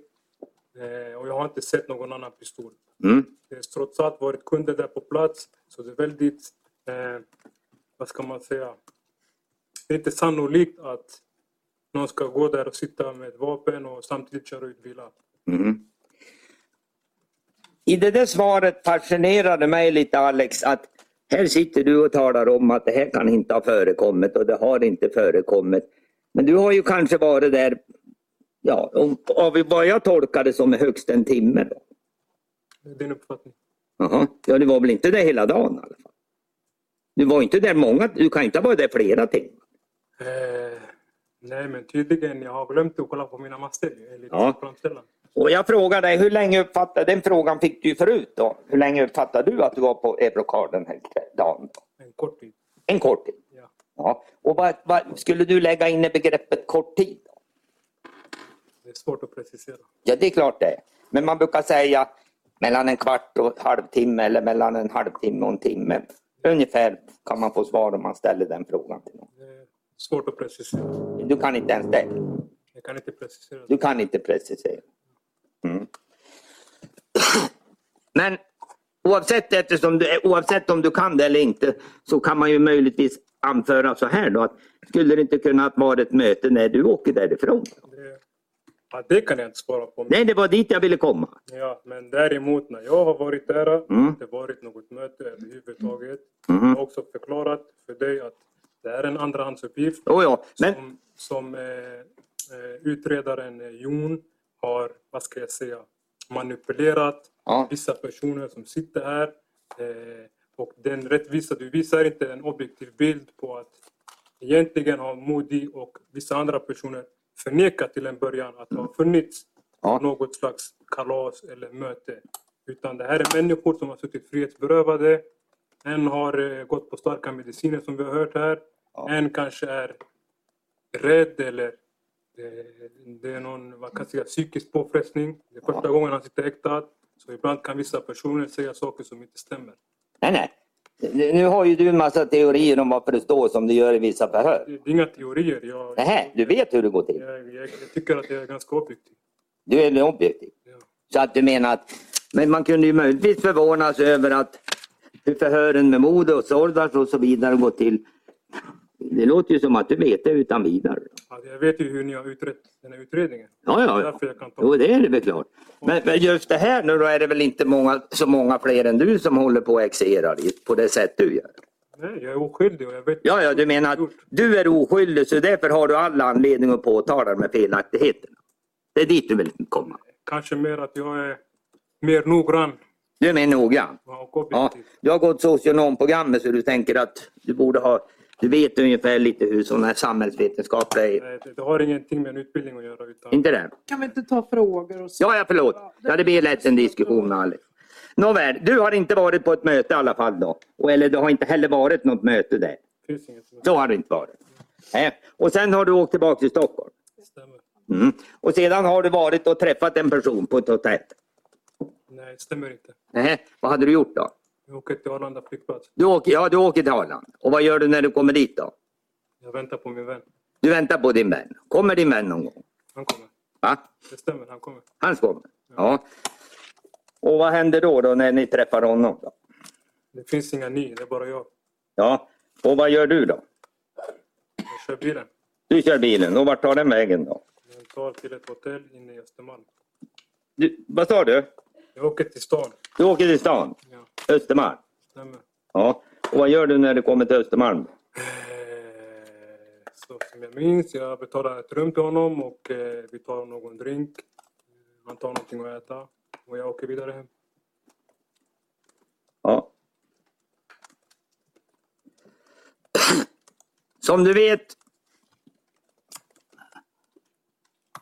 S3: Eh, och jag har inte sett någon annan pistol.
S2: Mm.
S3: Det har trots allt varit eh, kunder där på plats. Så det är väldigt, eh, vad ska man säga, det är inte sannolikt att någon ska gå där och sitta med ett vapen och samtidigt köra ut bilar.
S2: I det där svaret fascinerade mig lite Alex att här sitter du och talar om att det här kan inte ha förekommit och det har inte förekommit. Men du har ju kanske varit där, ja, om, av vad jag tolkade som högst en timme. Då.
S3: Det är din uppfattning.
S2: Jaha. Ja, du var väl inte där hela dagen i alla fall? Du var inte där många, du kan inte ha varit där flera timmar.
S3: Eh, nej, men tydligen. Jag har glömt att kolla på mina master enligt
S2: Ja.
S3: framställan.
S2: Och jag frågar dig, hur länge uppfattade, den frågan fick du ju förut då, hur länge uppfattade du att du var på Eurocard den här dagen? Då?
S3: En kort tid.
S2: En kort tid?
S3: Ja.
S2: Ja. Och vad, vad skulle du lägga in i begreppet kort tid? Då?
S3: Det är svårt att precisera.
S2: Ja, det är klart det. är. Men man brukar säga mellan en kvart och halvtimme eller mellan en halvtimme och en timme. Ungefär kan man få svar om man ställer den frågan till någon.
S3: Det är svårt att precisera.
S2: Du kan inte ens det.
S3: Jag kan inte precisera.
S2: Du kan inte precisera. Mm. Men Oavsett, eftersom du, oavsett om du kan det eller inte så kan man ju möjligtvis anföra så här då. Att skulle det inte kunna vara ett möte när du åker därifrån?
S3: Det, ja, det kan jag inte svara på.
S2: Nej, det var dit jag ville komma.
S3: Ja, men däremot när jag har varit där,
S2: Mm.
S3: har det varit något möte överhuvudtaget.
S2: Mhm.
S3: Jag har också förklarat för dig att det är en andrahandsuppgift
S2: Oh, ja. Men
S3: som, som eh, eh, utredaren eh, Jon har, vad ska jag säga, manipulerat
S2: Ja.
S3: vissa personer som sitter här. Eh, och den rättvisa, du visar inte en objektiv bild på att egentligen har Modi och vissa andra personer förnekat till en början att det har funnits
S2: Ja.
S3: något slags kalas eller möte. Utan det här är människor som har suttit frihetsberövade. En har eh, gått på starka mediciner som vi har hört här. En kanske är rädd eller eh, det är någon vad kan jag säga, psykisk påfrestning. Det är första gången han sitter häktad. Så ibland kan vissa personer säga saker som inte stämmer.
S2: nej, nej. Nu- Nu har ju du en massa teorier om varför det står som det gör i vissa
S3: Det
S2: förhör.
S3: det är inga teorier. Jag,
S2: Nej, du vet hur det går till.
S3: jag, jag, jag tycker att jag är ganska objektiv.
S2: Du är objektiv.
S3: Ja.
S2: Så att du menar att, men man kunde ju möjligtvis förvånas över att hur förhören med Modo och Sordas och så vidare går till. Det låter ju som att du vet det utan vidare.
S3: Alltså, jag vet ju hur ni har utrett den här utredningen.
S2: Ja, ja, ja.
S3: Därför jag kan ta
S2: Jo, det är det väl klart. Men, men just det här nu då är det väl inte många, så många fler än du som håller på och exerar i- på det sätt du gör?
S3: Nej, jag är oskyldig och jag vet
S2: Ja, ja, du menar att du är oskyldig så därför har du all anledning att påtala de här felaktigheterna. Det är dit du vill komma.
S3: kanske mer att jag är mer noggrann
S2: Du är mer noggrann.
S3: och
S2: Ja,
S3: objektiv.
S2: du har gått socionomprogrammet så du tänker att du borde ha, du vet ungefär lite hur sådana här samhällsvetenskapliga är.
S3: Nej, Det, det har ingenting med en utbildning att göra. Utan
S2: Inte det?
S4: Kan vi inte ta frågor och så?
S2: Ja, ja, förlåt. Ja, det blir lätt en diskussion med Alex. Nåväl, du har inte varit på ett möte i alla fall då? Och, eller det har inte heller varit något möte där?
S3: Det finns inget som
S2: Så har det inte varit. Nej. Och sen har du åkt tillbaka till Stockholm?
S3: stämmer.
S2: Mm. Och sedan har du varit och träffat en person på ett hotell?
S3: Nej, det stämmer inte.
S2: Nej. Vad hade du gjort då?
S3: Jag åker till Arlanda flygplats.
S2: Du åker, ja, du åker till Arlanda. Och vad gör du när du kommer dit då?
S3: Jag väntar på min vän.
S2: Du väntar på din vän. Kommer din vän någon gång?
S3: Han kommer.
S2: Va?
S3: Det stämmer, han kommer.
S2: Han kommer? Ja. Och vad händer då, då när ni träffar honom? Då?
S3: Det finns inga ni, det är bara jag.
S2: Ja. Och vad gör du då?
S3: Jag kör bilen.
S2: Du kör bilen och vart tar den vägen då?
S3: Jag tar till ett hotell inne i Östermalm.
S2: Du, vad sa du?
S3: Jag åker till stan.
S2: Du åker till stan,
S3: Ja,
S2: Östermalm.
S3: stämmer.
S2: Ja. Och vad gör du när du kommer till Östermalm?
S3: Eh, Så som jag minns, jag betalar ett rum till honom och eh, vi tar någon drink. Han tar någonting att äta och jag åker vidare hem.
S2: Ja. Som du vet.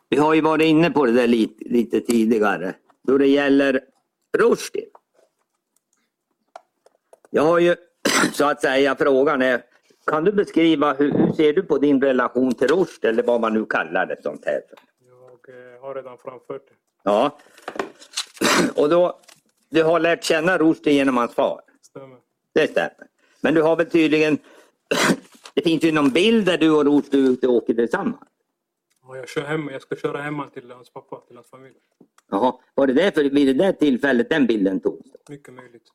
S2: Vi har ju varit inne på det där lite, lite tidigare. Då det gäller Rushdie. Jag har ju så att säga frågan är. Kan du beskriva hur, hur ser du på din relation till Rushdie eller vad man nu kallar det sånt här för?
S3: Jag eh, har redan framfört det.
S2: Ja. Och då. Du har lärt känna Rushdie genom hans far.
S3: Stämmer.
S2: Det stämmer. Men du har väl tydligen... det finns ju någon bild där du och Roth du ute och åker tillsammans.
S3: Ja, jag, kör hem, jag ska köra hem han till hans pappa, till hans familj.
S2: Jaha, var det därför vid det där tillfället den bilden togs?
S3: Mycket möjligt.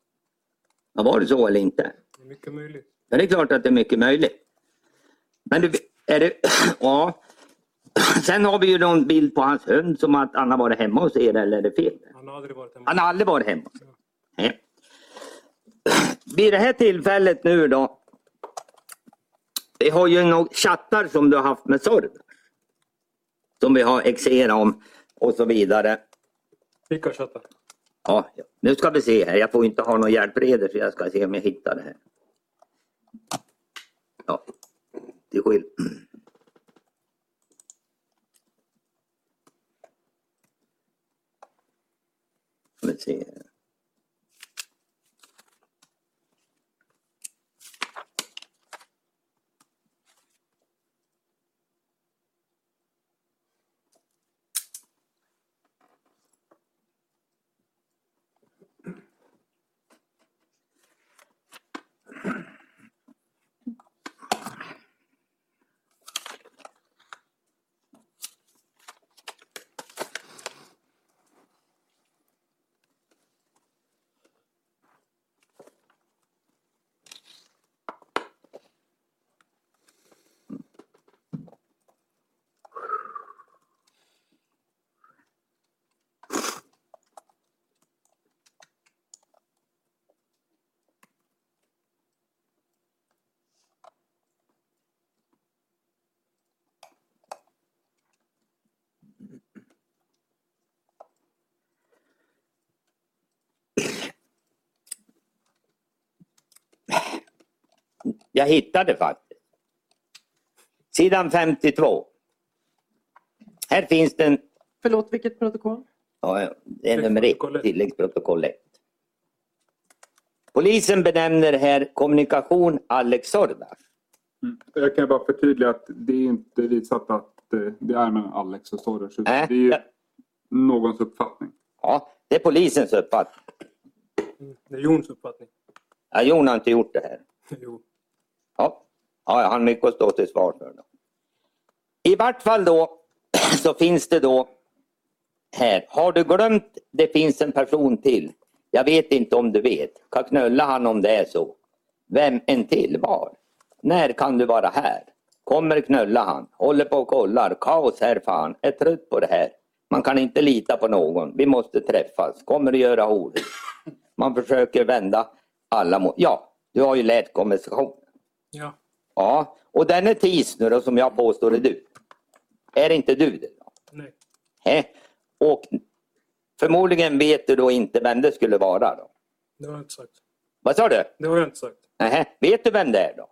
S2: Ja, var det så eller inte?
S3: Det är Mycket möjligt.
S2: Ja, det är klart att det är mycket möjligt. Men du, är det... ja. Sen har vi ju någon bild på hans hund som att han har varit hemma hos er eller är det fel?
S3: Han har aldrig varit hemma.
S2: Han har aldrig varit hemma. Nej. Vid det här tillfället nu då. Vi har ju några chattar som du har haft med Sorg. Som vi har exerat om och så vidare.
S3: Vilka chattar?
S2: Ja, ja. nu ska vi se här. Jag får inte ha någon hjälpreder så jag ska se om jag hittar det här. Ja, till skill. Ska vi se här. jag hittade faktiskt. Sidan 52. Här finns den,
S4: Förlåt, vilket protokoll?
S2: ja, det är nummer ett, tilläggsprotokoll 1. Polisen benämner här kommunikation Alex Äh? Sordas.
S5: Mm. Jag kan bara förtydliga att det är inte visat att eh, det är mellan Alex och Soros. utan
S2: Nej,
S5: Det är ju
S2: jag-
S5: någons uppfattning.
S2: Ja, det är polisens uppfattning.
S3: Det är Jons uppfattning.
S2: Ja, Jon har inte gjort det här.
S3: Jo.
S2: Ja, ja jag har mycket att stå till svar för. Då. I vart fall då så finns det då här. Har du glömt det finns en person till? Jag vet inte om du vet. Kan knulla han om det är så? Vem en till var? När kan du vara här? Kommer knulla han? Håller på och kollar. Kaos här fan. Är trött på det här. Man kan inte lita på någon. Vi måste träffas. Kommer du göra ordet? Man försöker vända alla mot... Ja, du har ju lärt konversationen.
S3: Ja.
S2: Ja, och den är tis nu då, som jag påstår är du. Är det inte du det? Då?
S3: Nej.
S2: Hä? Och förmodligen vet du då inte vem det skulle vara. då.
S3: Det har jag inte sagt.
S2: Vad sa du?
S3: Det har jag inte sagt.
S2: Nähä, vet du vem det är då?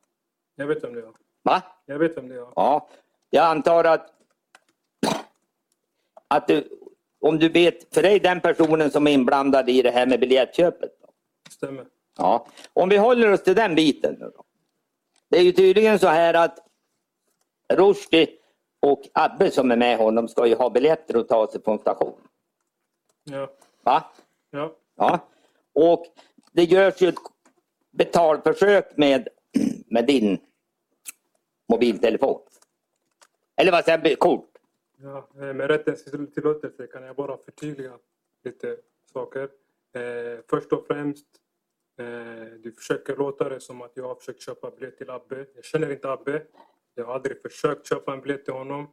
S3: Jag vet vem det är.
S2: Va?
S3: Jag vet vem det är.
S2: Ja, jag antar att, att du, om du vet, för dig den personen som är inblandad i det här med biljettköpet. Då.
S3: Stämmer.
S2: Ja, om vi håller oss till den biten nu då. Det är ju tydligen så här att Rushdie och Abbe som är med honom ska ju ha biljetter och ta sig från station.
S3: Ja.
S2: Va?
S3: Ja.
S2: Ja. Och det görs ju ett betalförsök med, med din mobiltelefon. Eller vad säger jag, kort?
S3: Ja, eh, med rättens tillåtelse kan jag bara förtydliga lite saker. Eh, först och främst, eh, du försöker låta det som att jag har försökt köpa biljett till Abbe. Jag känner inte Abbe. Jag har aldrig försökt köpa en biljett till honom.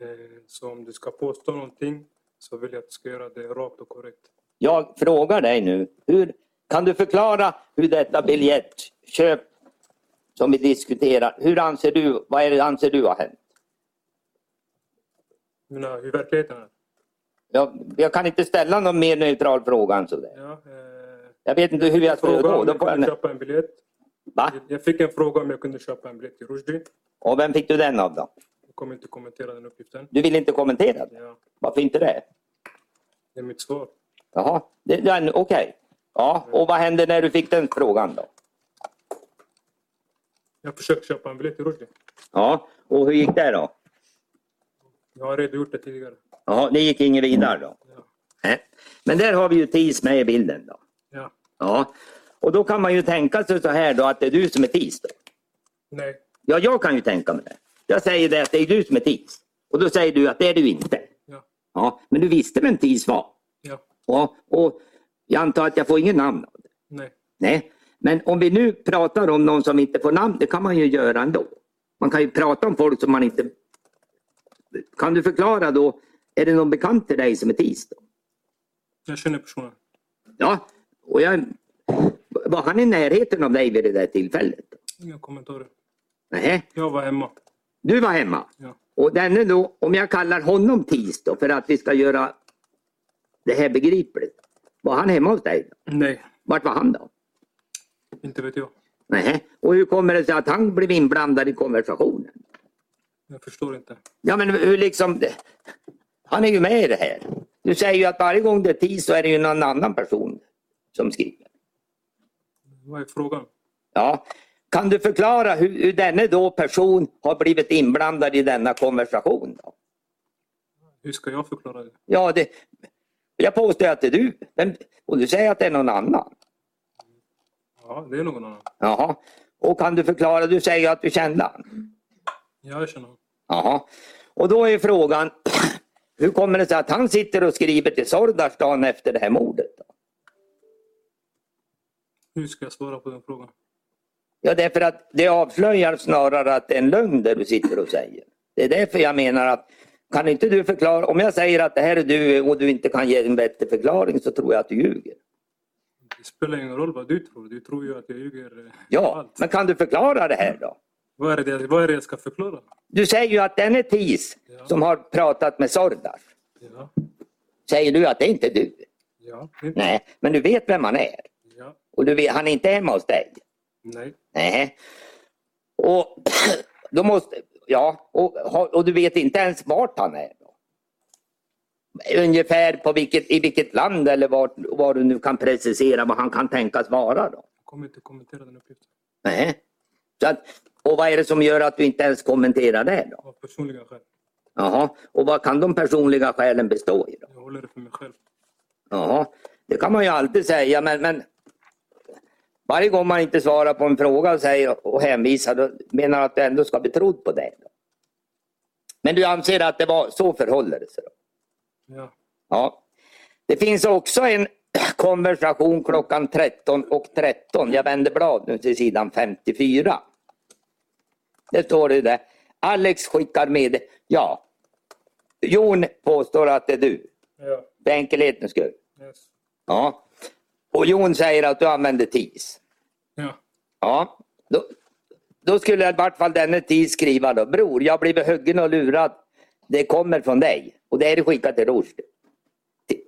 S3: Eh, så om du ska påstå någonting så vill jag att du ska göra det rakt och korrekt.
S2: Jag frågar dig nu, hur, kan du förklara hur detta biljettköp som vi diskuterar, hur anser du, vad är det anser du har hänt?
S3: Mina, hur verkligheten är.
S2: Jag, jag kan inte ställa någon mer neutral fråga än sådär.
S3: Ja, eh,
S2: Jag vet inte hur jag ska
S3: fråga
S2: gå.
S3: om
S2: Då
S3: jag
S2: får
S3: kunde
S2: jag,
S3: köpa en biljett.
S2: va?
S3: Jag fick en fråga om jag kunde köpa en biljett till Rushdie.
S2: Och vem fick du den av då?
S3: Jag kommer inte kommentera den uppgiften.
S2: Du vill inte kommentera det?
S3: Ja,
S2: Varför inte det?
S3: det är mitt svar.
S2: Jaha, det- den- okej. Ja, och vad hände när du fick den frågan då?
S3: Jag försökte köpa en biljett till Rushdie.
S2: Ja, och hur gick det då?
S3: Jag har redogjort det tidigare.
S2: Jaha, det gick inget vidare då?
S3: Ja.
S2: Nej. Men där har vi ju TIS med i bilden då.
S3: Ja.
S2: Ja, och då kan man ju tänka sig så här då att det är du som är TIS då.
S3: Nej,
S2: Ja, jag kan ju tänka mig det. Jag säger det att det är du som är TIS. Och då säger du att det är du inte.
S3: ja,
S2: Ja, men du visste vem TIS var?
S3: ja,
S2: Ja, och jag antar att jag får ingen namn av det.
S3: nej,
S2: Nej, men om vi nu pratar om någon som inte får namn, det kan man ju göra ändå. Man kan ju prata om folk som man inte... Kan du förklara då, är det någon bekant till dig som är TIS? Då?
S3: jag känner personen.
S2: Ja, och jag... Var han i närheten av dig vid det där tillfället?
S3: Inga kommentarer.
S2: Nej,
S3: Jag var hemma.
S2: du var hemma.
S3: Ja,
S2: Och denne då, om jag kallar honom TIS då, för att vi ska göra det här begripligt. Var han hemma hos dig? Då?
S3: nej,
S2: Vart var han då?
S3: inte vet jag.
S2: Nej. Och hur kommer det sig att han blev inblandad i konversationen?
S3: Jag förstår inte.
S2: Ja men hur liksom... Han är ju med i det här. Du säger ju att varje gång det är tid så är det ju någon annan person som skriver.
S3: Vad är frågan?
S2: Ja. Kan du förklara hur, hur denne då person har blivit inblandad i denna konversation? Då?
S3: Hur ska jag förklara det?
S2: Ja, det, jag påstår att det är du. Men, och du säger att det är någon annan.
S3: Ja, det är någon annan.
S2: Jaha. Och kan du förklara, du säger ju att du kände han.
S3: Ja, jag känner honom.
S2: Jaha. Och då är frågan, hur kommer det sig att han sitter och skriver till Sordas dagen efter det här mordet? Då?
S3: Hur ska jag svara på den frågan?
S2: Ja, därför att det avslöjar snarare att det är en lögn det du sitter och säger. Det är därför jag menar att kan inte du förklara, om jag säger att det här är du och du inte kan ge en bättre förklaring så tror jag att du ljuger.
S3: Det spelar ingen roll vad du tror. Du tror ju att jag ljuger. eh,
S2: Ja,
S3: allt.
S2: men kan du förklara det här då?
S3: Vad är det, jag- vad är det jag ska förklara?
S2: Du säger ju att den är TIS
S3: Ja.
S2: som har pratat med Sordas.
S3: Ja,
S2: Säger du att det är inte du?
S3: ja, inte.
S2: Nej, men du vet vem han är.
S3: ja,
S2: Och du vet, han är inte hemma hos dig.
S3: nej,
S2: Nej. Och, då måste, ja, och, och du vet inte ens vart han är. Då. Ungefär på vilket, i vilket land eller vart, var du nu kan precisera vad han kan tänkas vara. Då.
S3: Jag kommer inte kommentera den uppgiften
S2: Nej. Så att, och vad är det som gör att du inte ens kommenterar det? Då?
S3: av personliga skäl.
S2: Jaha. Och vad kan de personliga skälen bestå i? Då?
S3: Jag håller det för mig själv.
S2: Jaha, det kan man ju alltid säga men, men varje gång man inte svarar på en fråga och, säger, och hänvisar då menar jag att du ändå ska bli trodd på det. Då. Men du anser att det var så förhåller det sig? Då.
S3: Ja.
S2: Ja. Det finns också en konversation klockan 13 och 13. Jag vänder blad nu till sidan 54. Det står det där. Alex skickar med... Ja. Jon påstår att det är du.
S3: Ja.
S2: För enkelhetens skull.
S3: Yes.
S2: Ja. Och Jon säger att du använder TIS.
S3: Ja.
S2: Ja. Då, då skulle i vart fall denne TIS skriva då. Bror, jag har blivit huggen och lurad. Det kommer från dig. Och det är det skickat till Rushdie. Ti-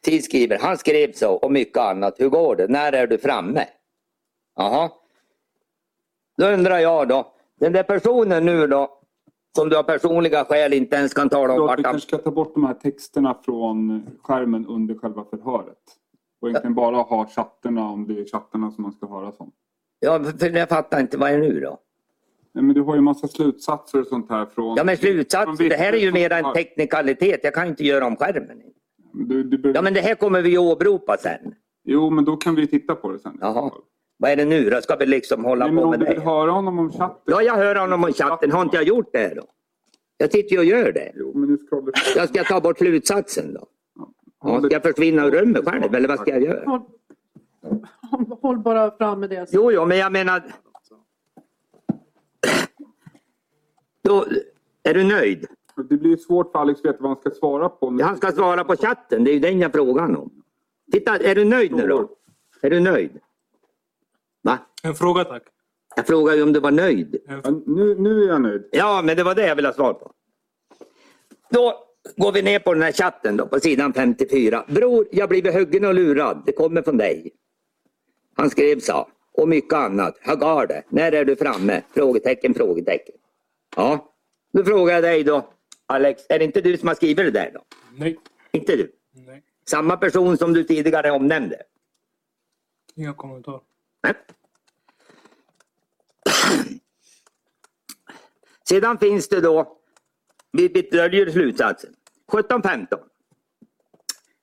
S2: TIS skriver, han skrev så och mycket annat. Hur går det? När är du framme? Jaha. Då undrar jag då. Den där personen nu då. Som du av personliga skäl inte ens kan tala om
S5: Förlåt, vi
S2: vart han...
S5: kanske ska ta bort de här texterna från skärmen under själva förhöret. Och egentligen bara ha chattarna om det är chattarna som man ska höra som.
S2: Ja, för jag fattar inte. Vad är det nu då?
S5: Nej, men du har ju massa slutsatser och sånt här från...
S2: Ja men
S5: från
S2: slutsats, det här är ju
S5: vittnen
S2: mera
S5: som
S2: en
S5: har-
S2: teknikalitet. Jag kan ju inte göra om skärmen.
S5: Du, du behöver...
S2: Ja men det här kommer vi ju åberopa sen.
S5: Jo, men då kan vi titta på det sen.
S2: Jaha. Vad är det nu då? Ska vi liksom hålla
S5: Nej, men
S2: på
S5: om
S2: med
S5: du vill
S2: det?
S5: höra honom om chatten.
S2: Ja jag hör honom om chatten. Har inte jag gjort det då? Jag sitter ju och gör det.
S5: Jo, men nu scrollar vi.
S2: Jag ska ta bort slutsatsen då. Ja, ska jag försvinna ur rummet själv eller vad ska jag göra?
S4: Håll, håll bara fram med det.
S2: Jo, jo men jag menar... Då, är du nöjd?
S5: Det blir ju svårt för Alex att veta vad han ska svara på. Men...
S2: Han ska svara på chatten. Det är ju den jag frågar om. Titta, är du nöjd nu då? Är du nöjd? Va?
S3: En fråga tack.
S2: Jag frågade ju om du var nöjd.
S5: Ja, nu, nu är jag nöjd.
S2: Ja, men det var det jag ville ha svar på. Då går vi ner på den här chatten då, på sidan 54. Bror, jag blir huggen och lurad. Det kommer från dig. Han skrev så. Och mycket annat. Jag har det. När är du framme? Frågetecken, frågetecken. Ja, då frågar jag dig då. Alex, är det inte du som har skrivit det där då?
S3: Nej.
S2: Inte du?
S3: Nej.
S2: Samma person som du tidigare omnämnde?
S3: Inga kommentarer.
S2: Nej. Sedan finns det då, vi vi döljer slutsatsen, 17-15.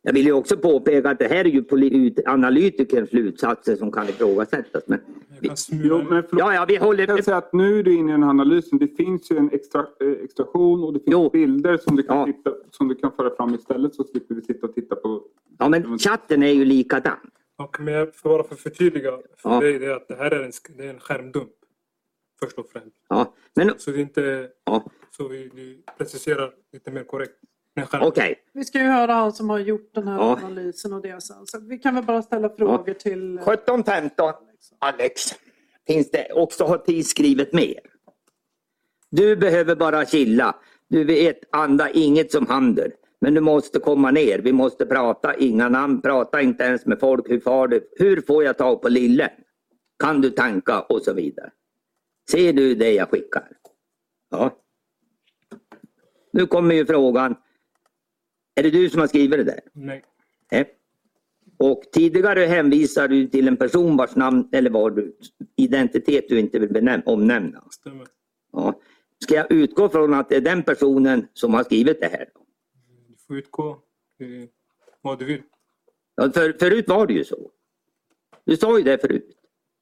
S2: Jag vill ju också påpeka att det här är ju poli- ut- analytikerns slutsatser som kan ifrågasättas. Men
S3: Jag
S2: vi,
S3: kan smyga.
S5: Jo, men förlåt.
S2: ja, ja, vi
S5: Jag kan
S2: håller...
S5: säga att nu är du inne i den här analysen. Det finns ju en extra, eh, extraktion och det finns
S2: Jo.
S5: bilder som du, kan
S2: Ja.
S5: titta, som du kan föra fram istället så slipper vi sitta och titta på...
S2: Ja, men chatten är ju likadan.
S3: Och men jag får bara för att förtydliga för
S2: Ja.
S3: dig det är att det här är en, sk- det är en skärmdump. Först och främst.
S2: Ja, men
S3: Så det är inte
S2: ja,
S3: så vi, vi preciserar lite mer korrekt. Det är en skärmdump.
S2: okej.
S4: Vi ska ju höra han som har gjort den här
S2: Ja.
S4: analysen och det sen. Så vi kan väl bara ställa frågor till...
S2: 17-15, Alex, finns det också har tid skrivet mer. Du behöver bara chilla. Du vet, anda inget som händer. Men du måste komma ner. Vi måste prata. Inga namn. Prata inte ens med folk. Hur far du? Hur får jag tag på lillen? Kan du tanka? Och så vidare. Ser du det jag skickar? Ja. Nu kommer ju frågan. Är det du som har skrivit det där?
S3: Nej.
S2: Nej. Eh, Och tidigare hänvisar du till en person vars namn eller var du, identitet du inte vill benäm- omnämna.
S3: Stämmer.
S2: Ja. Ska jag utgå från att det är den personen som har skrivit det här?
S3: Du får utgå eh, vad du vill.
S2: Ja, för, förut var det ju så. Du sa ju det förut.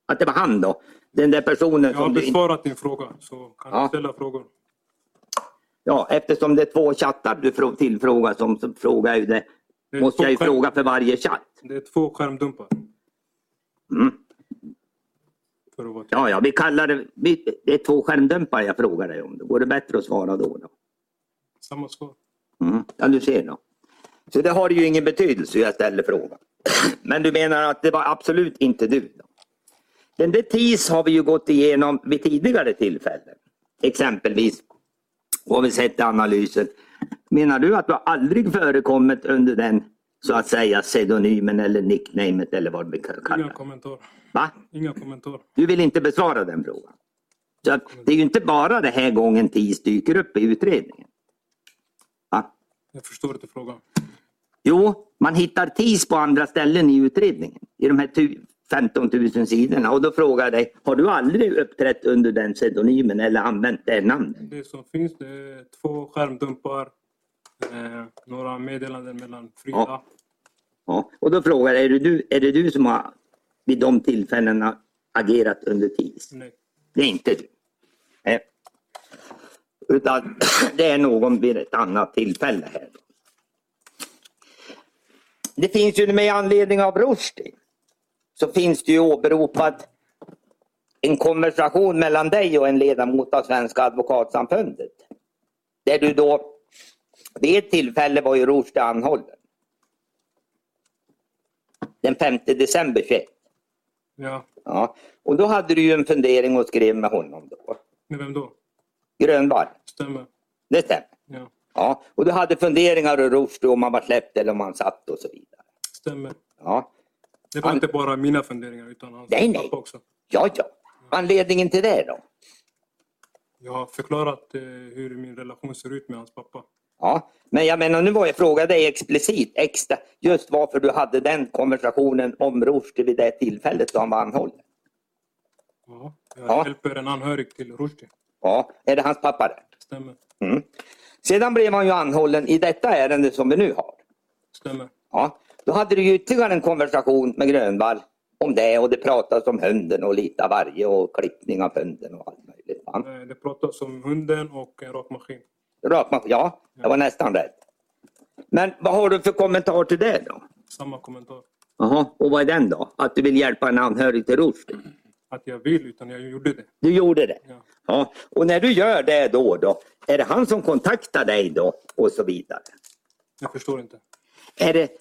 S2: Att det var han då. Den där personen
S3: Jag har
S2: som du inte...
S3: besvarat din fråga så kan
S2: Ja.
S3: du ställa frågor.
S2: Ja, eftersom det är två chattar du frå- tillfrågas om så frågar jag ju det.
S3: Det är
S2: Måste
S3: två
S2: jag ju
S3: skärm-
S2: fråga för varje chatt.
S3: Det är två skärmdumpar.
S2: Mm.
S3: För att vara
S2: Ja, ja, vi kallar det... Vi, det är två skärmdämpare jag frågar dig om. Går det bättre att svara då? då?
S3: samma svar.
S2: Mm. Ja, du ser då. Så det har ju ingen betydelse hur jag ställer frågan. Men du menar att det var absolut inte du? Då? Den där TIS har vi ju gått igenom vid tidigare tillfällen. Exempelvis har vi sett i analysen. Menar du att du aldrig förekommit under den så att säga pseudonymen eller nicknamet eller vad vi kan kalla
S3: Inga
S2: det?
S3: kommentarer.
S2: Va?
S3: Inga kommentarer.
S2: Du vill inte besvara den frågan? Så att det är ju inte bara den här gången TIS dyker upp i utredningen. Va?
S3: Jag förstår inte frågan.
S2: Jo, man hittar TIS på andra ställen i utredningen. I de här tu- 15 000 sidorna. Och då frågar jag dig, har du aldrig uppträtt under den pseudonymen eller använt det namnet?
S3: Det som finns det är två skärmdumpar, eh, några meddelanden mellan Frida.
S2: Ja. Ja. Och då frågar jag, är det, du, är det du som har vid de tillfällena agerat under TIS?
S3: Nej.
S2: Det är inte du. Nej. Utan det är någon vid ett annat tillfälle. här. Det finns ju med anledning av Rushdie så finns det ju åberopat en konversation mellan dig och en ledamot av Svenska advokatsamfundet. Där du då vid ett tillfälle var ju Rushdie anhållen. Den 5 december 21.
S3: Ja.
S2: Ja. Och då hade du ju en fundering och skrev med honom då.
S3: Med vem då?
S2: Grönvall,
S3: Stämmer.
S2: det stämmer.
S3: Ja.
S2: Ja. Och du hade funderingar och Rushdie om han var släppt eller om han satt och så vidare.
S3: Stämmer.
S2: Ja.
S3: Det var
S2: Han-
S3: inte bara mina funderingar utan hans
S2: Nej, nej.
S3: pappa också.
S2: Ja, ja. Anledningen till det då?
S3: Jag har förklarat eh, hur min relation ser ut med hans pappa.
S2: Ja. Men jag menar, nu var jag frågade dig explicit extra just varför du hade den konversationen om Rushdie vid det tillfället då han var anhållen.
S3: Ja. Jag
S2: Ja.
S3: hjälper en anhörig till Rushdie.
S2: Ja, är det hans pappa det?
S3: Stämmer.
S2: Mm. Sedan blev han ju anhållen i detta ärende som vi nu har.
S3: Stämmer.
S2: Ja, då hade du ju ytterligare en konversation med Grönvall om det och det pratades om hunden och lite av varje och klippning av hunden och allt möjligt. Va?
S3: Eh, Det pratas om hunden och en rakmaskin.
S2: Rakt man, ja, det var nästan rätt. Men vad har du för kommentar till det då?
S3: Samma kommentar.
S2: Jaha, och vad är den då? Att du vill hjälpa en anhörig till Rushdie?
S3: Att jag vill, utan jag gjorde det.
S2: Du gjorde det?
S3: Ja.
S2: Ja, och när du gör det då, då, är det han som kontaktar dig då och så vidare?
S3: Jag förstår inte.
S2: Är det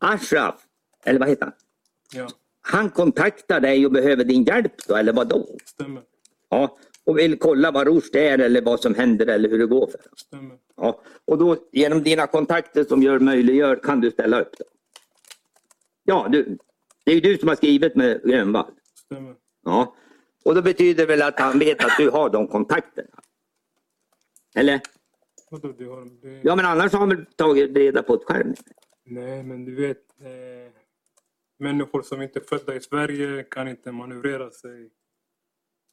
S2: Ashraf, eller vad heter han?
S3: Ja,
S2: Han kontaktar dig och behöver din hjälp då, eller vad då?
S3: stämmer.
S2: Ja, och vill kolla vad Rushdie är eller vad som händer eller hur det går för honom.
S3: Stämmer.
S2: Ja, och då genom dina kontakter som gör möjliggör kan du ställa upp. Då. Ja, du, det är ju du som har skrivit med Grönvall.
S3: Stämmer.
S2: Ja, och då betyder det väl att han vet att du har de kontakterna? Eller?
S3: Vadå, du har... Det...
S2: Ja, men annars har han väl tagit reda på ett skärm.
S3: Nej, men du vet. Eh, människor som inte är födda i Sverige kan inte manövrera sig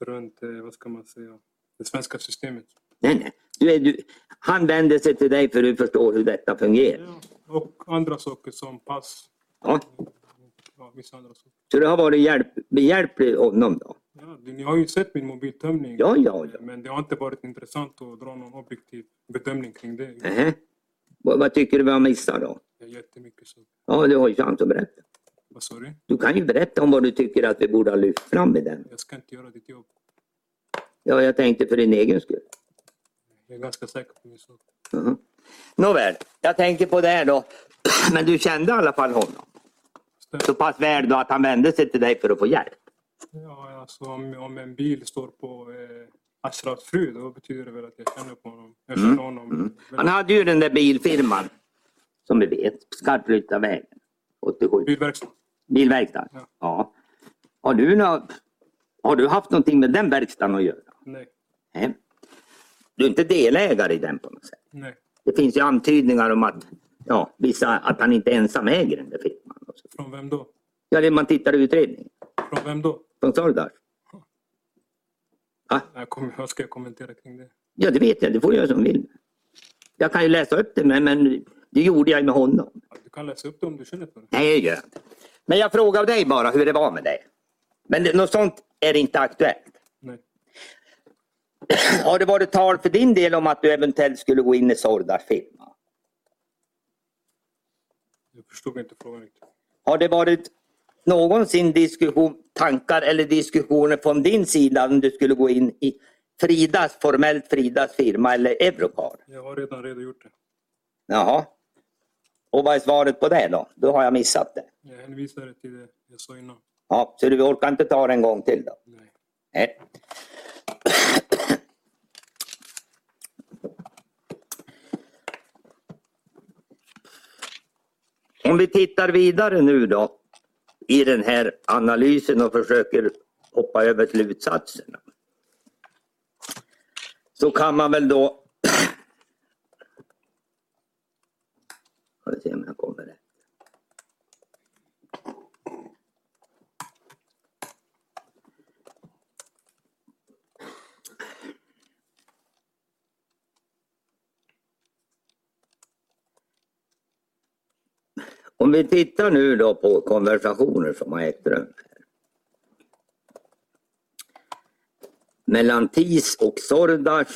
S3: runt, eh, vad ska man säga, det svenska systemet.
S2: Nej, nej. Du är, du, han vänder sig till dig för du förstår hur detta fungerar.
S3: Ja. Och andra saker som pass.
S2: Ja,
S3: Ja, vissa andra saker.
S2: så du har varit hjälp, behjälplig honom då?
S3: Ja, du- ni har ju sett min mobiltömning. Eh,
S2: Ja, ja, ja.
S3: Men det har inte varit intressant att dra någon objektiv bedömning kring det.
S2: Nähä. Vad, vad tycker du vi har missat då?
S3: Det är jättemycket så.
S2: Ja, du har ju chans att berätta.
S3: Vad sa du?
S2: Du kan ju berätta om vad du tycker att vi borde ha lyft fram i den.
S3: Jag ska inte göra ditt jobb.
S2: Ja, jag tänkte för din egen skull.
S3: Jag är ganska säker på min sak.
S2: Mhm. Nåväl, jag tänker på det här då. Men du kände i alla fall honom? Så
S3: Stämmer.
S2: pass väl då att han vände sig till dig för att få hjälp?
S3: Ja, alltså, om, om en bil står på eh, Ashrafs fru, då betyder det väl att jag känner på honom. Jag känner honom.
S2: Han hade ju den där bilfirman, som vi vet, Skarphyttavägen 87.
S3: Bilverkstad.
S2: Bilverkstad.
S3: Ja.
S2: Ja. Har du, nå- har du haft någonting med den verkstaden att göra?
S3: Nej,
S2: Nej. Du är inte delägare i den på något sätt?
S3: nej.
S2: Det finns ju antydningar om att, ja, vissa, att han inte ensam äger den där firman. och så.
S3: Från vem då?
S2: Ja, det man tittar i utredningen.
S3: Från vem då?
S2: Från Sardar.
S3: Jag kommer, vad ska jag kommentera kring det?
S2: Ja, det vet jag. Det får jag som vill. Jag kan ju läsa upp det, men, men det gjorde jag med honom.
S3: Du kan läsa upp det om du känner för det.
S2: Nej, det gör jag inte. Men jag frågar dig bara hur det var med dig. Men det, något sånt är inte aktuellt.
S3: Nej,
S2: Har det varit tal för din del om att du eventuellt skulle gå in i Sordars firma?
S3: jag förstod inte frågan riktigt.
S2: Har det varit någonsin diskussion, tankar eller diskussioner från din sida om du skulle gå in i Fridas, formellt Fridas firma eller Eurocar?
S3: Jag har redan redogjort det.
S2: Jaha. Och vad är svaret på det då? Då har jag missat det.
S3: Jag hänvisade till det jag sa innan.
S2: Ja, så du orkar inte ta det en gång till då?
S3: Nej.
S2: Nej. Om vi tittar vidare nu då i den här analysen och försöker hoppa över slutsatserna. så kan man väl då... Ska vi se om jag kommer rätt. Om vi tittar nu då på konversationer som har ägt rum. mellan TIS och Sordas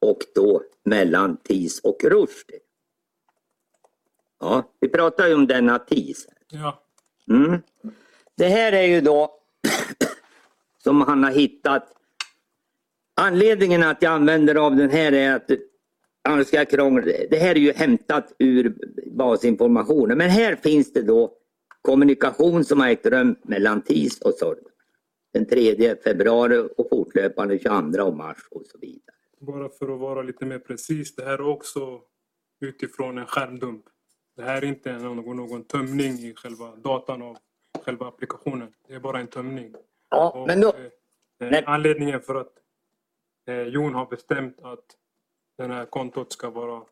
S2: och då mellan TIS och Rushdie. Ja, vi pratar ju om denna TIS.
S3: Ja.
S2: Mm. Det här är ju då som han har hittat. Anledningen att jag använder av den här är att annars ska jag krångla. Det här är ju hämtat ur basinformationen. Men här finns det då kommunikation som har ägt rum mellan TIS och Sordas den 3 februari och fortlöpande 22 mars och så vidare.
S3: Bara för att vara lite mer precis. Det här är också utifrån en skärmdump. Det här är inte någon, någon tömning i själva datan av själva applikationen. Det är bara en tömning.
S2: Ja,
S3: Och,
S2: men då,
S3: eh, eh,
S2: Nej.
S3: Anledningen för att eh, Jon har bestämt att det här kontot ska vara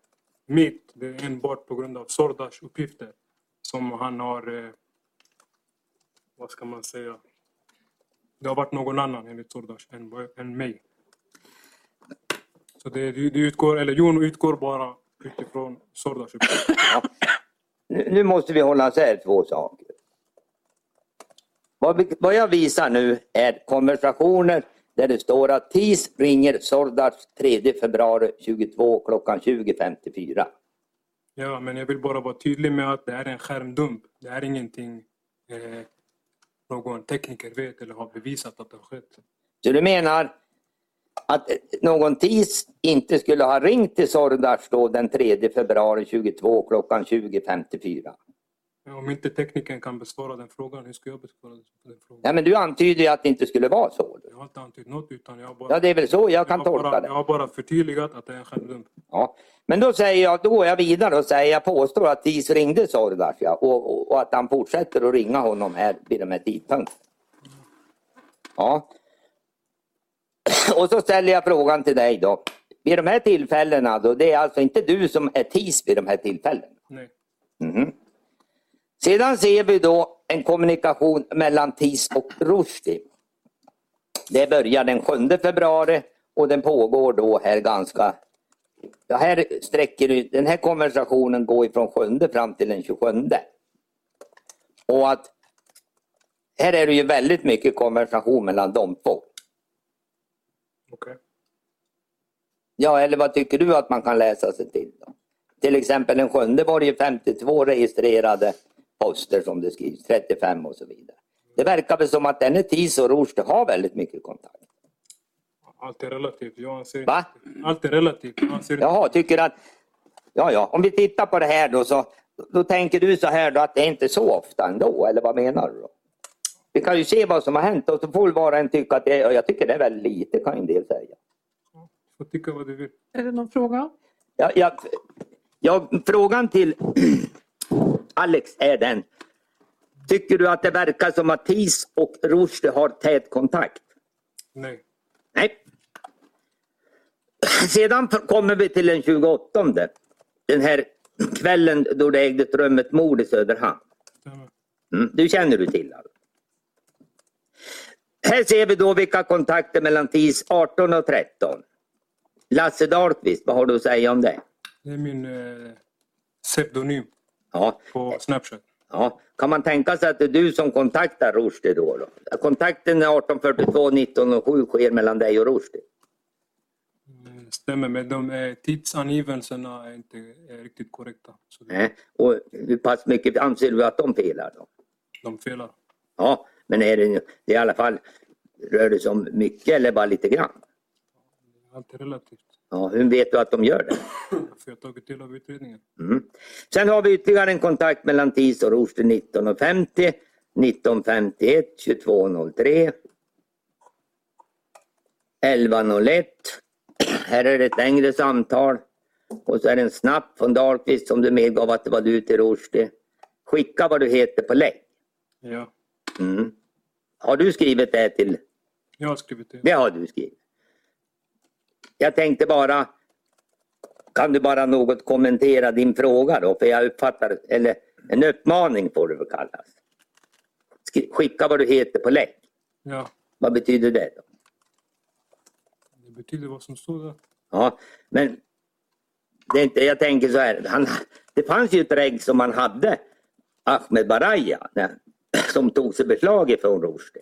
S3: mitt, det är enbart på grund av Sordas uppgifter som han har, eh, vad ska man säga, det har varit någon annan enligt Sordas än, än mig. Så det, det utgår, eller Jon utgår bara utifrån Sordas uppgifter.
S2: nu, nu måste vi hålla isär två saker. Vad, vi, vad jag visar nu är konversationer där det står att TIS ringer Sordas 3 februari 22 klockan 20.54.
S3: Ja, men jag vill bara vara tydlig med att det här är en skärmdump. Det här är ingenting eh, någon tekniker vet eller har bevisat att det har skett.
S2: Så du menar att eh, någon TIS inte skulle ha ringt till Sordas då den 3 februari 22 klockan 20.54?
S3: Men Om inte teknikern kan besvara den frågan, hur ska jag besvara den frågan?
S2: Nej, men du antyder ju att det inte skulle vara så.
S3: Jag har inte antytt något utan jag har bara,
S2: Ja, det är väl så jag kan
S3: har
S2: tolka
S3: bara,
S2: det.
S3: jag har bara förtydligat att det är en skärmdump.
S2: Ja. Men då säger jag, då går jag vidare och säger, jag påstår att TIS ringde Sordas ja, och, och, och att han fortsätter att ringa honom här vid den här tidpunkten. Ja. Och så ställer jag frågan till dig då. Vid de här tillfällena då, det är alltså inte du som är TIS vid de här tillfällena.
S3: Nej.
S2: Mhm. Sedan ser vi då en kommunikation mellan TIS och Rushdie. Det börjar den 7 februari och den pågår då här ganska... Ja, här sträcker, det- den här konversationen går ifrån 7 fram till den 27. Och att här är det ju väldigt mycket konversation mellan de två.
S3: Okej.
S2: Ja, eller vad tycker du att man kan läsa sig till? Då? Till exempel den sjunde var det ju 52 registrerade poster som det skrivs, 35 och så vidare. Det verkar väl som att denne Tis och Rushdie har väldigt mycket kontakt.
S3: Allt är relativt. Jag anser
S2: Va?
S3: inte- Allt är relativt. Jag anser inte-
S2: Jaha, tycker att... Ja, ja, om vi tittar på det här då så då tänker du så här då att det är inte så ofta ändå, eller vad menar du? då? Vi kan ju se vad som har hänt och så får väl var och en tycka att det är, jag tycker det är väldigt lite kan ju en del säga.
S3: Du får tycka vad du vill.
S4: Är det någon fråga?
S2: Ja, ja, ja, frågan till Alex är den. Tycker du att det verkar som att TIS och Rushdie har tät kontakt?
S3: Nej.
S2: Nej. Sedan kommer vi till den 28. Den här kvällen då det ägde rum ett mord i Söderhamn.
S3: Stämmer.
S2: Mm, du känner du till alltså. Här ser vi då vilka kontakter mellan TIS 18 och 13. Lasse Dahlqvist, vad har du att säga om det?
S3: Det är min eh, pseudonym
S2: Ja,
S3: på Snapchat.
S2: Ja, kan man tänka sig att det är du som kontaktar Rushdie då? då? Kontakten är 1842 1907 sker mellan dig och Rushdie.
S3: Eh, Stämmer, men de eh, tidsangivelserna är inte eh, riktigt korrekta. Så det-
S2: Nej. Eh? Och hur pass mycket anser du att de felar då?
S3: de felar.
S2: Ja, men är det, det är i alla fall, rör det sig om mycket eller bara lite grann?
S3: Allt är relativt.
S2: Ja, hur vet du att de gör det?
S3: För jag har tagit del av utredningen.
S2: Mm. Sen har vi ytterligare en kontakt mellan TIS och Rushdie 1950, 1951, 2203, 1101. Här är det ett längre samtal. Och så är det en snapp från Dahlqvist som du medgav att det var du till Rushdie. Skicka vad du heter på länk.
S3: Ja.
S2: Mm. Har du skrivit det till...
S3: Jag har skrivit det.
S2: Det har du skrivit. Jag tänkte bara, kan du bara något kommentera din fråga då? För jag uppfattar, eller en uppmaning får det väl kallas. Sk- Skicka vad du heter på länk.
S3: Ja,
S2: Vad betyder det? Då?
S3: det betyder vad som står där.
S2: Ja, men det är inte, jag tänker så här. Han, det fanns ju ett regg som han hade, Ahmed Baraya, när- som tog sig beslag ifrån Rushdie.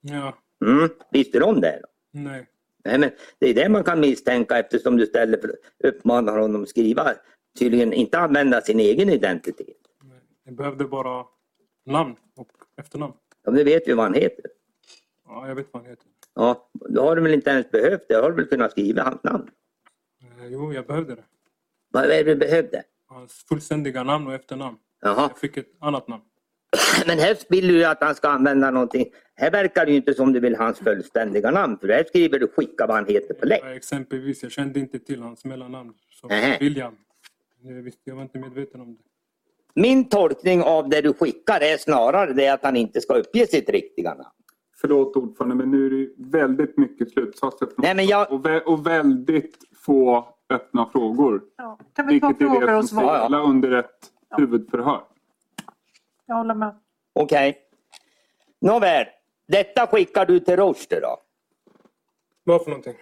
S3: Ja,
S2: Mm, visste du om det? Då?
S3: nej.
S2: Nej, men det är det man kan misstänka eftersom du ställer, för- uppmanar honom att skriva. Tydligen inte använda sin egen identitet.
S3: nej. Jag behövde bara namn och efternamn.
S2: Ja, men det vet vi vad han heter.
S3: Ja, jag vet vad han heter.
S2: Ja, då har du väl inte ens behövt det? Då har du väl kunnat skriva hans namn?
S3: Eh, Jo, jag behövde det.
S2: Vad är det du behövde?
S3: Hans fullständiga namn och efternamn.
S2: Jaha.
S3: Jag fick ett annat namn.
S2: Men här vill du ju att han ska använda någonting. Här verkar det ju inte som du vill ha hans fullständiga namn. För här skriver du skicka vad han heter på länk.
S3: Eh, Exempelvis, jag kände inte till hans mellannamn. Så
S2: Nähä.
S3: William. Jag, visste, jag var inte medveten om det.
S2: Min tolkning av det du skickar är snarare det att han inte ska uppge sitt riktiga namn.
S5: Förlåt ordförande, men nu är det ju väldigt mycket slutsatser från
S2: Nej, men jag-
S5: och, vä- och väldigt få öppna frågor.
S4: Ja. Kan vi ta
S5: Vilket är
S4: frågor
S5: det
S4: och
S5: som ska
S4: svar?
S5: gälla under ett huvudförhör.
S4: Jag håller med.
S2: Okej. Nåväl. Detta skickar du till Rushdie då?
S3: Vad för någonting?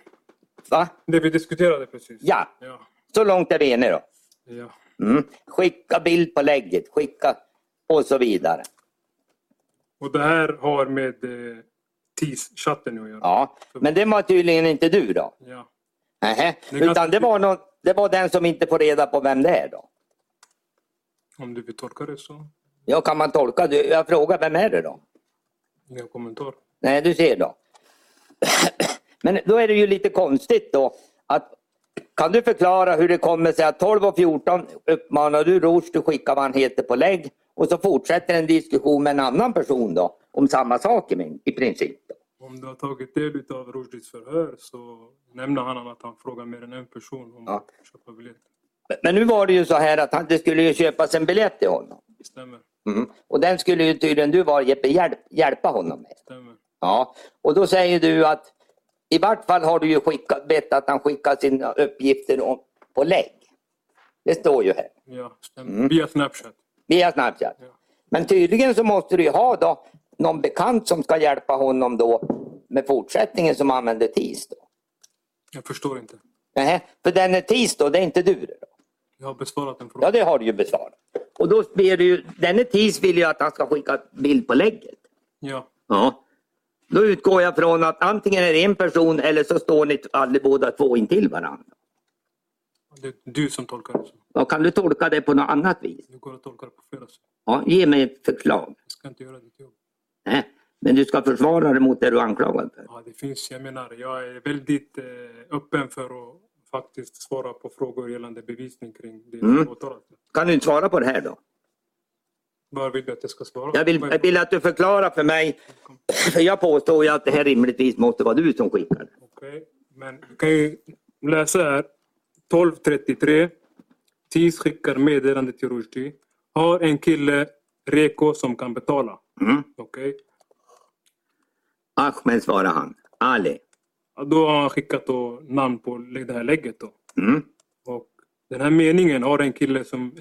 S2: Va?
S3: Det vi diskuterade precis.
S2: Ja.
S3: Ja.
S2: Så långt är vi eniga då?
S3: ja.
S2: Mm. Skicka bild på lägget, skicka och så vidare.
S3: Och det här har med eh, TIS-chatten att göra.
S2: Ja. Men det var tydligen inte du då?
S3: Ja.
S2: Nähä.
S3: Det är ganska-
S2: Utan det var, någon, det var den som inte får reda på vem det är då?
S3: Om du vill tolka det så.
S2: Ja, kan man tolka det? Jag frågar, vem är det då?
S3: Inga kommentar.
S2: Nej, du ser då. Men då är det ju lite konstigt då att kan du förklara hur det kommer sig att 12 och 14 uppmanar du Roos att skicka vad han heter på lägg och så fortsätter en diskussion med en annan person då om samma sak i, min, i princip. Då.
S3: Om du har tagit del av Rushdies förhör så nämner han att han frågar mer än en person om
S2: Ja.
S3: att köpa biljett.
S2: Men nu var det ju så här att han, det skulle ju köpas en biljett till honom.
S3: Det stämmer.
S2: Mm. Och den skulle ju tydligen du vara Jeppe hjälp, hjälpa honom med.
S3: stämmer.
S2: Ja, och då säger du att i vart fall har du ju skickat, bett att han skickar sina uppgifter om, på lägg. Det står ju här.
S3: Ja, stämmer.
S2: Mm.
S3: Via Snapchat.
S2: Via Snapchat.
S3: Ja.
S2: Men tydligen så måste du ju ha då någon bekant som ska hjälpa honom då med fortsättningen som använder TIS. Då.
S3: Jag förstår inte.
S2: Nähä, för den är TIS då, det är inte du. Då.
S3: Jag har besvarat en fråga.
S2: Ja, det har du ju besvarat. Och då ber du ju, denne TIS vill ju att han ska skicka bild på lägget.
S3: Ja,
S2: Ja. Då utgår jag från att antingen är det en person eller så står ni aldrig båda två intill varandra.
S3: det är du som tolkar det så.
S2: Ja, kan du tolka det på något annat vis?
S3: Du går att tolka det på flera sätt.
S2: Ja, ge mig ett förslag.
S3: Jag ska inte göra ditt jobb.
S2: Nej, men du ska försvara dig mot det du är anklagad för.
S3: Ja, det finns, jag menar, jag är väldigt eh, öppen för att faktiskt svara på frågor gällande bevisning kring det som
S2: Mm.
S3: är åtalat.
S2: Kan du inte svara på det här då?
S3: Vad vill du att jag ska svara?
S2: Jag vill, jag vill att du förklarar för mig. För jag påstår ju att det här rimligtvis måste vara du som skickar det.
S3: Okej, men du kan ju läsa här. 12.33. TIS skickar meddelande till Rushdie. Har en kille, Reko, som kan betala.
S2: Mm.
S3: Okej?
S2: Ahmed svarar han. Ali.
S3: Ja, Då har han skickat då namn på det här lägget då.
S2: Mm.
S3: Och den här meningen har en kille, som,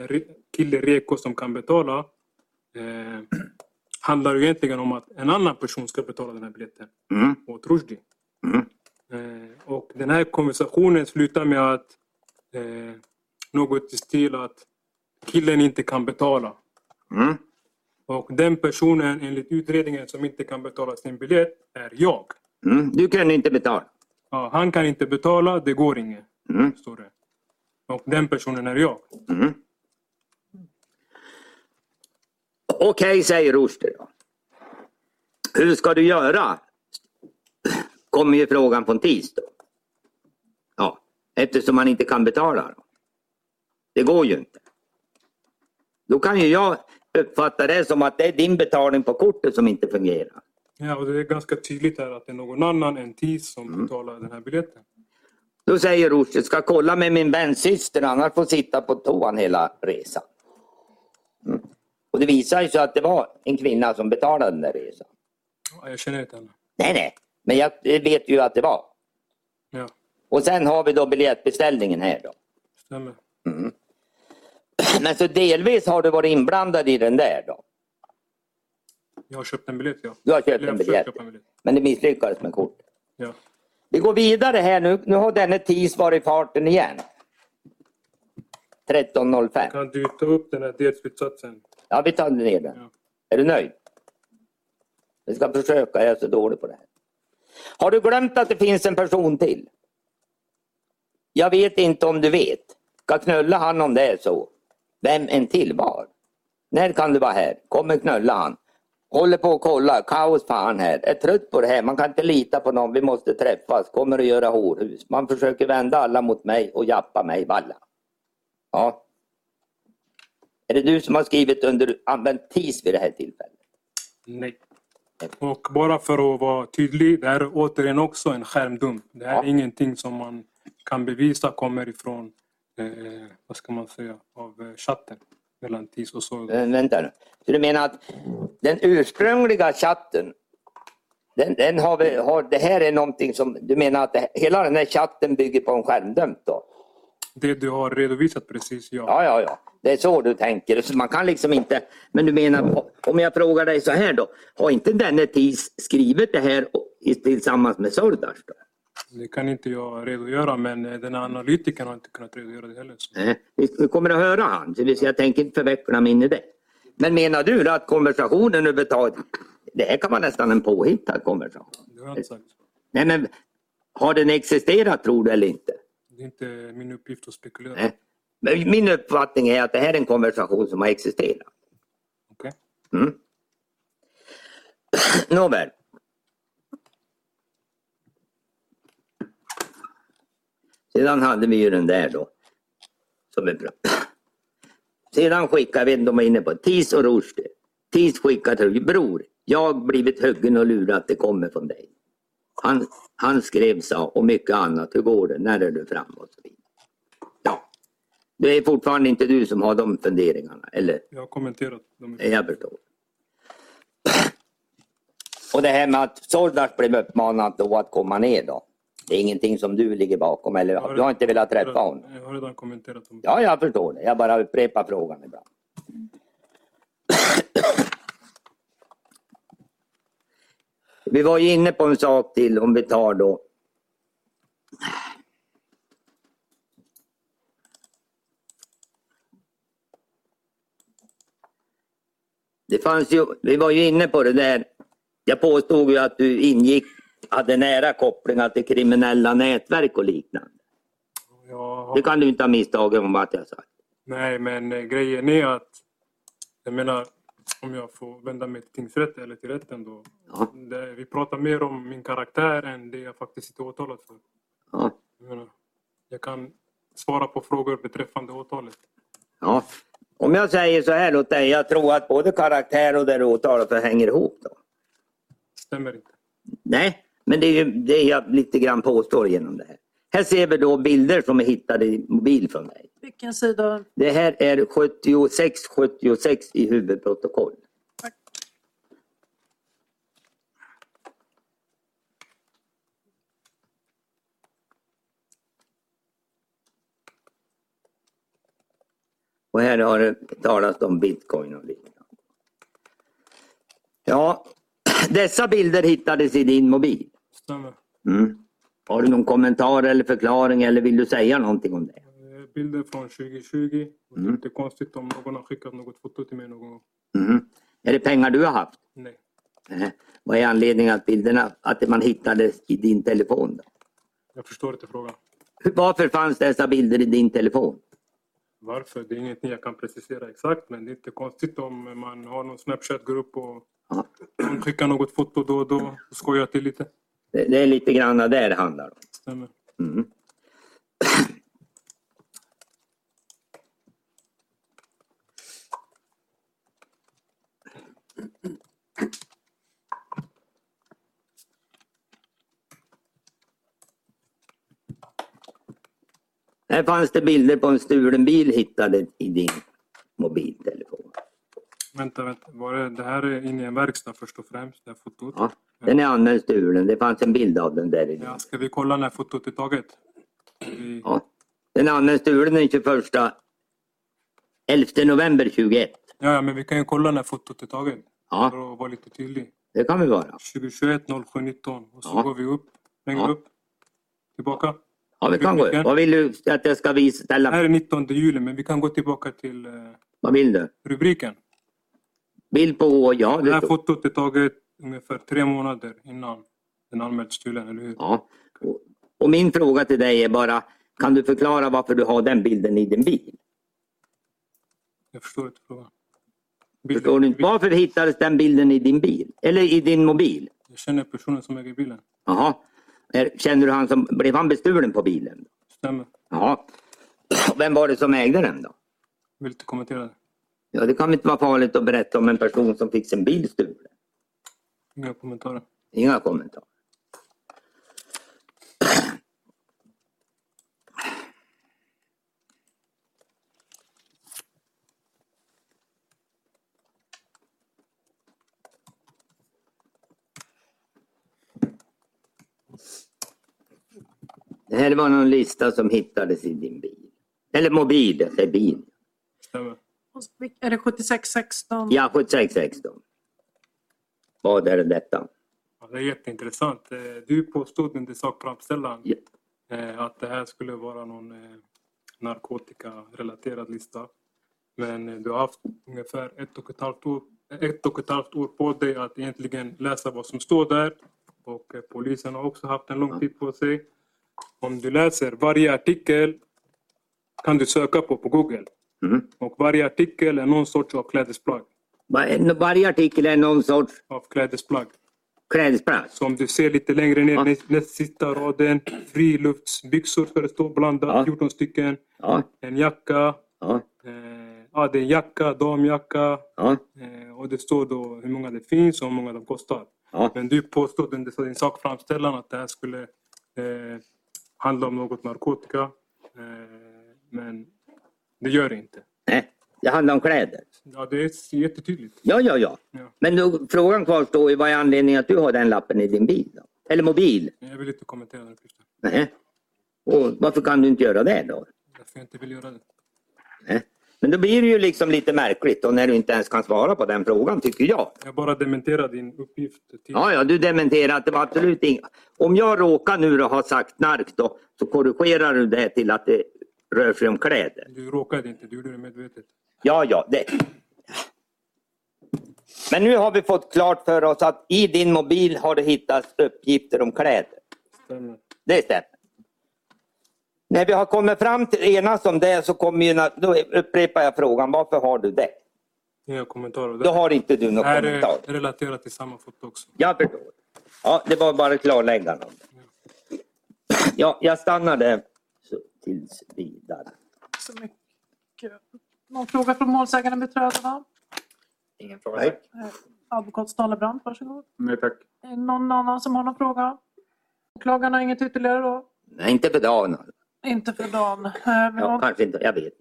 S3: kille Reko som kan betala. Eh, handlar ju egentligen om att en annan person ska betala den här biljetten
S2: Mm.
S3: åt Rushdie.
S2: Mm.
S3: Eh, och den här konversationen slutar med att eh, något i stil att killen inte kan betala.
S2: Mm.
S3: Och den personen enligt utredningen som inte kan betala sin biljett är jag.
S2: Mm. Du kunde inte betala.
S3: Ja, han kan inte betala, det går inget.
S2: Mm.
S3: Står det. Och den personen är jag.
S2: Mm. Okej, säger Rushdie då. Hur ska du göra? Kommer ju frågan från TIS då. Ja, eftersom man inte kan betala. Då. Det går ju inte. Då kan ju jag uppfatta det som att det är din betalning på kortet som inte fungerar.
S3: Ja, och det är ganska tydligt här att det är någon annan än TIS som
S2: Mm.
S3: betalar den här biljetten.
S2: Då säger Rushdie, ska kolla med min väns syster annars får sitta på toan hela resan. Mm. Och det visar ju sig att det var en kvinna som betalade den där resan.
S3: Ja, jag känner inte henne.
S2: Nej, nej, men jag vet ju att det var.
S3: Ja.
S2: Och sen har vi då biljettbeställningen här då.
S3: Stämmer.
S2: Men så delvis har du varit inblandad i den där då.
S3: Jag har köpt en biljett ja.
S2: Du har köpt
S3: Eller
S2: en
S3: jag har försökt
S2: biljett.
S3: köpa en biljett.
S2: Men det misslyckades med kortet.
S3: Ja.
S2: Vi går vidare här nu. Nu har denne TIS varit i farten igen. 13.05.
S3: Kan du ta upp den här delslutsatsen?
S2: Ja, vi tar ner den.
S3: Ja.
S2: Är du nöjd? Jag ska försöka, jag är så dålig på det här. Har du glömt att det finns en person till? Jag vet inte om du vet. Ska knulla han om det är så. Vem en till var? När kan du vara här? Kommer knulla han. Håller på att kolla, kaos fan här. Är trött på det här, man kan inte lita på någon, vi måste träffas. Kommer att göra horhus. Man försöker vända alla mot mig och jappa mig valla. Ja. Är det du som har skrivit under använt TIS vid det här tillfället?
S3: Nej. Och bara för att vara tydlig, det här är återigen också en skärmdump. Det här
S2: Ja.
S3: är ingenting som man kan bevisa kommer ifrån, eh, vad ska man säga, av eh, chatten mellan TIS och så.
S2: Vä- vänta nu. Så du menar att den ursprungliga chatten, den, den har, vi, har, det här är någonting som, du menar att det, hela den här chatten bygger på en skärmdump då?
S3: Det du har redovisat precis, ja.
S2: Ja, ja, ja. Det är så du tänker. Så man kan liksom inte, men du menar, om jag frågar dig så här då, har inte denne TIS skrivit det här i- tillsammans med Sordas? Då?
S3: Det kan inte jag redogöra men eh, den här analytikern har inte kunnat redogöra det heller. Så.
S2: Nej, Eh, vi- Vi kommer att höra han, så vi- så jag tänker inte förveckla mig in i det. Men menar du då att konversationen överhuvudtaget, det här kan vara nästan en påhittad konversation.
S3: Det har jag inte sagt.
S2: Nej, men har den existerat tror du eller inte?
S3: Det är inte min uppgift att spekulera.
S2: Nej. Men min uppfattning är att det här är en konversation som har existerat.
S3: Okej?
S2: Mm. Nåväl. Sedan hade vi ju den där då. Som är bra. Sedan skickar vi, de var inne på TIS och Rushdie. TIS skickar till bror. Jag blivit huggen och lurad att det kommer från dig. Han, han skrev sa och mycket annat. Hur går det? När är du framme? Och så vidare. Ja. Det är fortfarande inte du som har de funderingarna, eller?
S3: Jag har kommenterat. De...
S2: Jag förstår. Och det här med att Sordas blev uppmanad då att komma ner då. Det är ingenting som du ligger bakom eller du har inte velat träffa honom?
S3: Jag har redan kommenterat. Dem.
S2: Ja, jag förstår det. Jag bara upprepar frågan ibland. Vi var ju inne på en sak till om vi tar då. Det fanns ju, vi var ju inne på det där. Jag påstod ju att du ingick, hade nära kopplingar till kriminella nätverk och liknande.
S3: Jag har
S2: Det kan du inte ha misstagit om att jag sa.
S3: Nej, men eh, grejen är att jag menar om jag får vända mig till tingsrätten eller till rätten då.
S2: Ja.
S3: Det, vi pratar mer om min karaktär än det jag faktiskt sitter åtalad för.
S2: Ja.
S3: Jag, menar, jag kan svara på frågor beträffande åtalet.
S2: Ja. Om jag säger så här åt dig, jag tror att både karaktär och det du åtalar för hänger ihop. Då.
S3: Stämmer inte.
S2: Nej, men det är ju det jag lite grann påstår genom det här. Här ser vi då bilder som är hittade i mobil från dig.
S4: Vilken sida?
S2: Det här är 76 76 i huvudprotokoll.
S4: Tack.
S2: Och här har det talats om bitcoin och liknande. Ja, dessa bilder hittades i din mobil.
S3: Stämmer.
S2: Mm. Har du någon kommentar eller förklaring eller vill du säga någonting om det?
S3: Eh, Bilder från 2020. Det är
S2: Mm.
S3: inte konstigt om någon har skickat något foto till mig någon gång.
S2: Mm. Är det pengar du har haft?
S3: Nej.
S2: Nej. Eh, Vad är anledningen att bilderna, att man hittade i din telefon? Då?
S3: Jag förstår inte frågan.
S2: Hur- Varför fanns dessa bilder i din telefon?
S3: Varför? Det är ingenting jag kan precisera exakt men det är inte konstigt om man har någon Snapchat-grupp och
S2: Ja.
S3: någon skickar något foto då och då och skojar till lite.
S2: Det, det är lite grann det det handlar om.
S3: Stämmer.
S2: Mm. Här fanns det bilder på en stulen bil hittade i din mobiltelefon.
S3: Vänta, vänta. Var det, det här är inne i en verkstad först och främst, det här fotot.
S2: Ja, den är använd stulen. Det fanns en bild av den där i din.
S3: Ja, ska vi kolla när fotot är taget? Vi,
S2: Ja. Den används stulen den 21 11 november 21.
S3: ja, ja, men vi kan ju kolla när fotot är taget.
S2: Ja,
S3: För att vara lite tydlig.
S2: det kan vi vara.
S3: 2021 0719 och så
S2: Ja.
S3: går vi upp, längre
S2: Ja.
S3: upp, tillbaka.
S2: Ja, vi kan gå Vad vill du att jag ska visa?
S3: Det här
S2: Ställa?
S3: är 19 juli, men vi kan gå tillbaka till eh,
S2: Vad vill du?
S3: rubriken.
S2: Bild på H. Ja,
S3: Det här
S2: det står.
S3: fotot är taget ungefär tre månader innan den anmälts stulen, eller hur?
S2: Ja. Och- Och min fråga till dig är bara, kan du förklara varför du har den bilden i din bil?
S3: Jag förstår inte frågan.
S2: Förstår du inte? Varför hittades den bilden i din bil? Eller i din mobil?
S3: Jag känner personen som äger bilen.
S2: Jaha. Är- Känner du han som, blev han bestulen på bilen?
S3: Stämmer.
S2: Ja. Vem var det som ägde den då?
S3: Vill inte kommentera det.
S2: Ja, det kan väl inte vara farligt att berätta om en person som fick sin bil stulen.
S3: Inga kommentarer.
S2: Inga kommentarer. Det här var någon lista som hittades i din bil. Eller mobil, jag säger bil.
S3: Stämmer.
S4: Är det 7616?
S2: Ja, 7616. Vad är detta?
S3: Ja, det är jätteintressant. Eh, Du påstod under sakframställan
S2: Ja.
S3: eh, att det här skulle vara någon eh, narkotikarelaterad lista. Men eh, du har haft ungefär ett och ett halvt år, ett och ett halvt år på dig att egentligen läsa vad som står där. Och eh, polisen har också haft en lång tid på sig. Om du läser varje artikel kan du söka på på Google.
S2: Mm.
S3: Och varje artikel är någon sorts av klädesplagg.
S2: Var- Varje artikel är någon sorts
S3: Av klädesplagg.
S2: klädesplagg.
S3: Som du ser lite längre ner,
S2: Ja.
S3: näst, näst sista raden. Friluftsbyxor ska det stå blandat,
S2: Ja.
S3: 14 stycken.
S2: Ja,
S3: En jacka.
S2: ja,
S3: Eh, ja, det är en jacka, damjacka.
S2: ja,
S3: Eh, och det står då hur många det finns och hur många de kostar.
S2: ja.
S3: Men du påstod under din sakframställan att det här skulle eh, handla om något narkotika. Eh, men det gör det inte.
S2: Nej, det handlar om kläder.
S3: Ja, det är jättetydligt.
S2: Ja, ja, ja.
S3: Ja.
S2: Men då, frågan kvarstår ju, vad är anledningen att du har den lappen i din bil? Då? Eller mobil?
S3: Men Jag vill inte kommentera den uppgiften.
S2: Nej. Och varför kan du inte göra det då?
S3: Därför jag inte vill göra det.
S2: Nej. Men då blir det ju liksom lite märkligt då när du inte ens kan svara på den frågan tycker jag.
S3: Jag bara dementerar din uppgift. Till...
S2: Ja, ja, du dementerar att det var absolut inga. Om jag råkar nu då ha sagt knark då, så korrigerar du det till att det rör sig om kläder.
S3: Du råkade inte, du gjorde det medvetet.
S2: Ja, ja. Det. Men nu har vi fått klart för oss att i din mobil har det hittats uppgifter om kläder.
S3: Stämmer.
S2: Det stämmer. När vi har kommit fram till enas om det så kommer ju, na- då upprepar jag frågan, varför har du det?
S3: Inga kommentarer.
S2: Då har inte du någon
S3: det här
S2: kommentar.
S3: är relaterat till samma foto också.
S2: Jag förstår. Ja, det var bara klarläggande. om det. Ja, jag stannar där så tills vidare.
S4: Så mycket. Någon fråga från målsägandebiträdena?
S6: Ingen fråga.
S2: Nej.
S6: tack.
S4: Eh, Advokat Stalebrand, varsågod.
S5: Nej tack.
S4: Är det någon annan som har någon fråga? Åklagaren har inget ytterligare då?
S2: Nej, inte för dagen.
S4: Inte för dagen. Eh, men
S2: Ja,
S4: någon-
S2: kanske inte. Jag vet.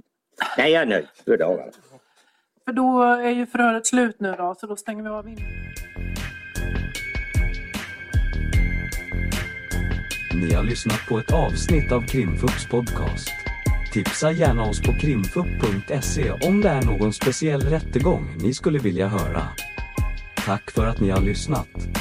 S2: Nej, jag är nöjd för dagen.
S4: För då är ju förhöret slut nu då, så då stänger vi av in.
S1: Ni har lyssnat på ett avsnitt av Krimfupps podcast. Tipsa gärna oss på krimfupp.se om det är någon speciell rättegång ni skulle vilja höra. Tack för att ni har lyssnat.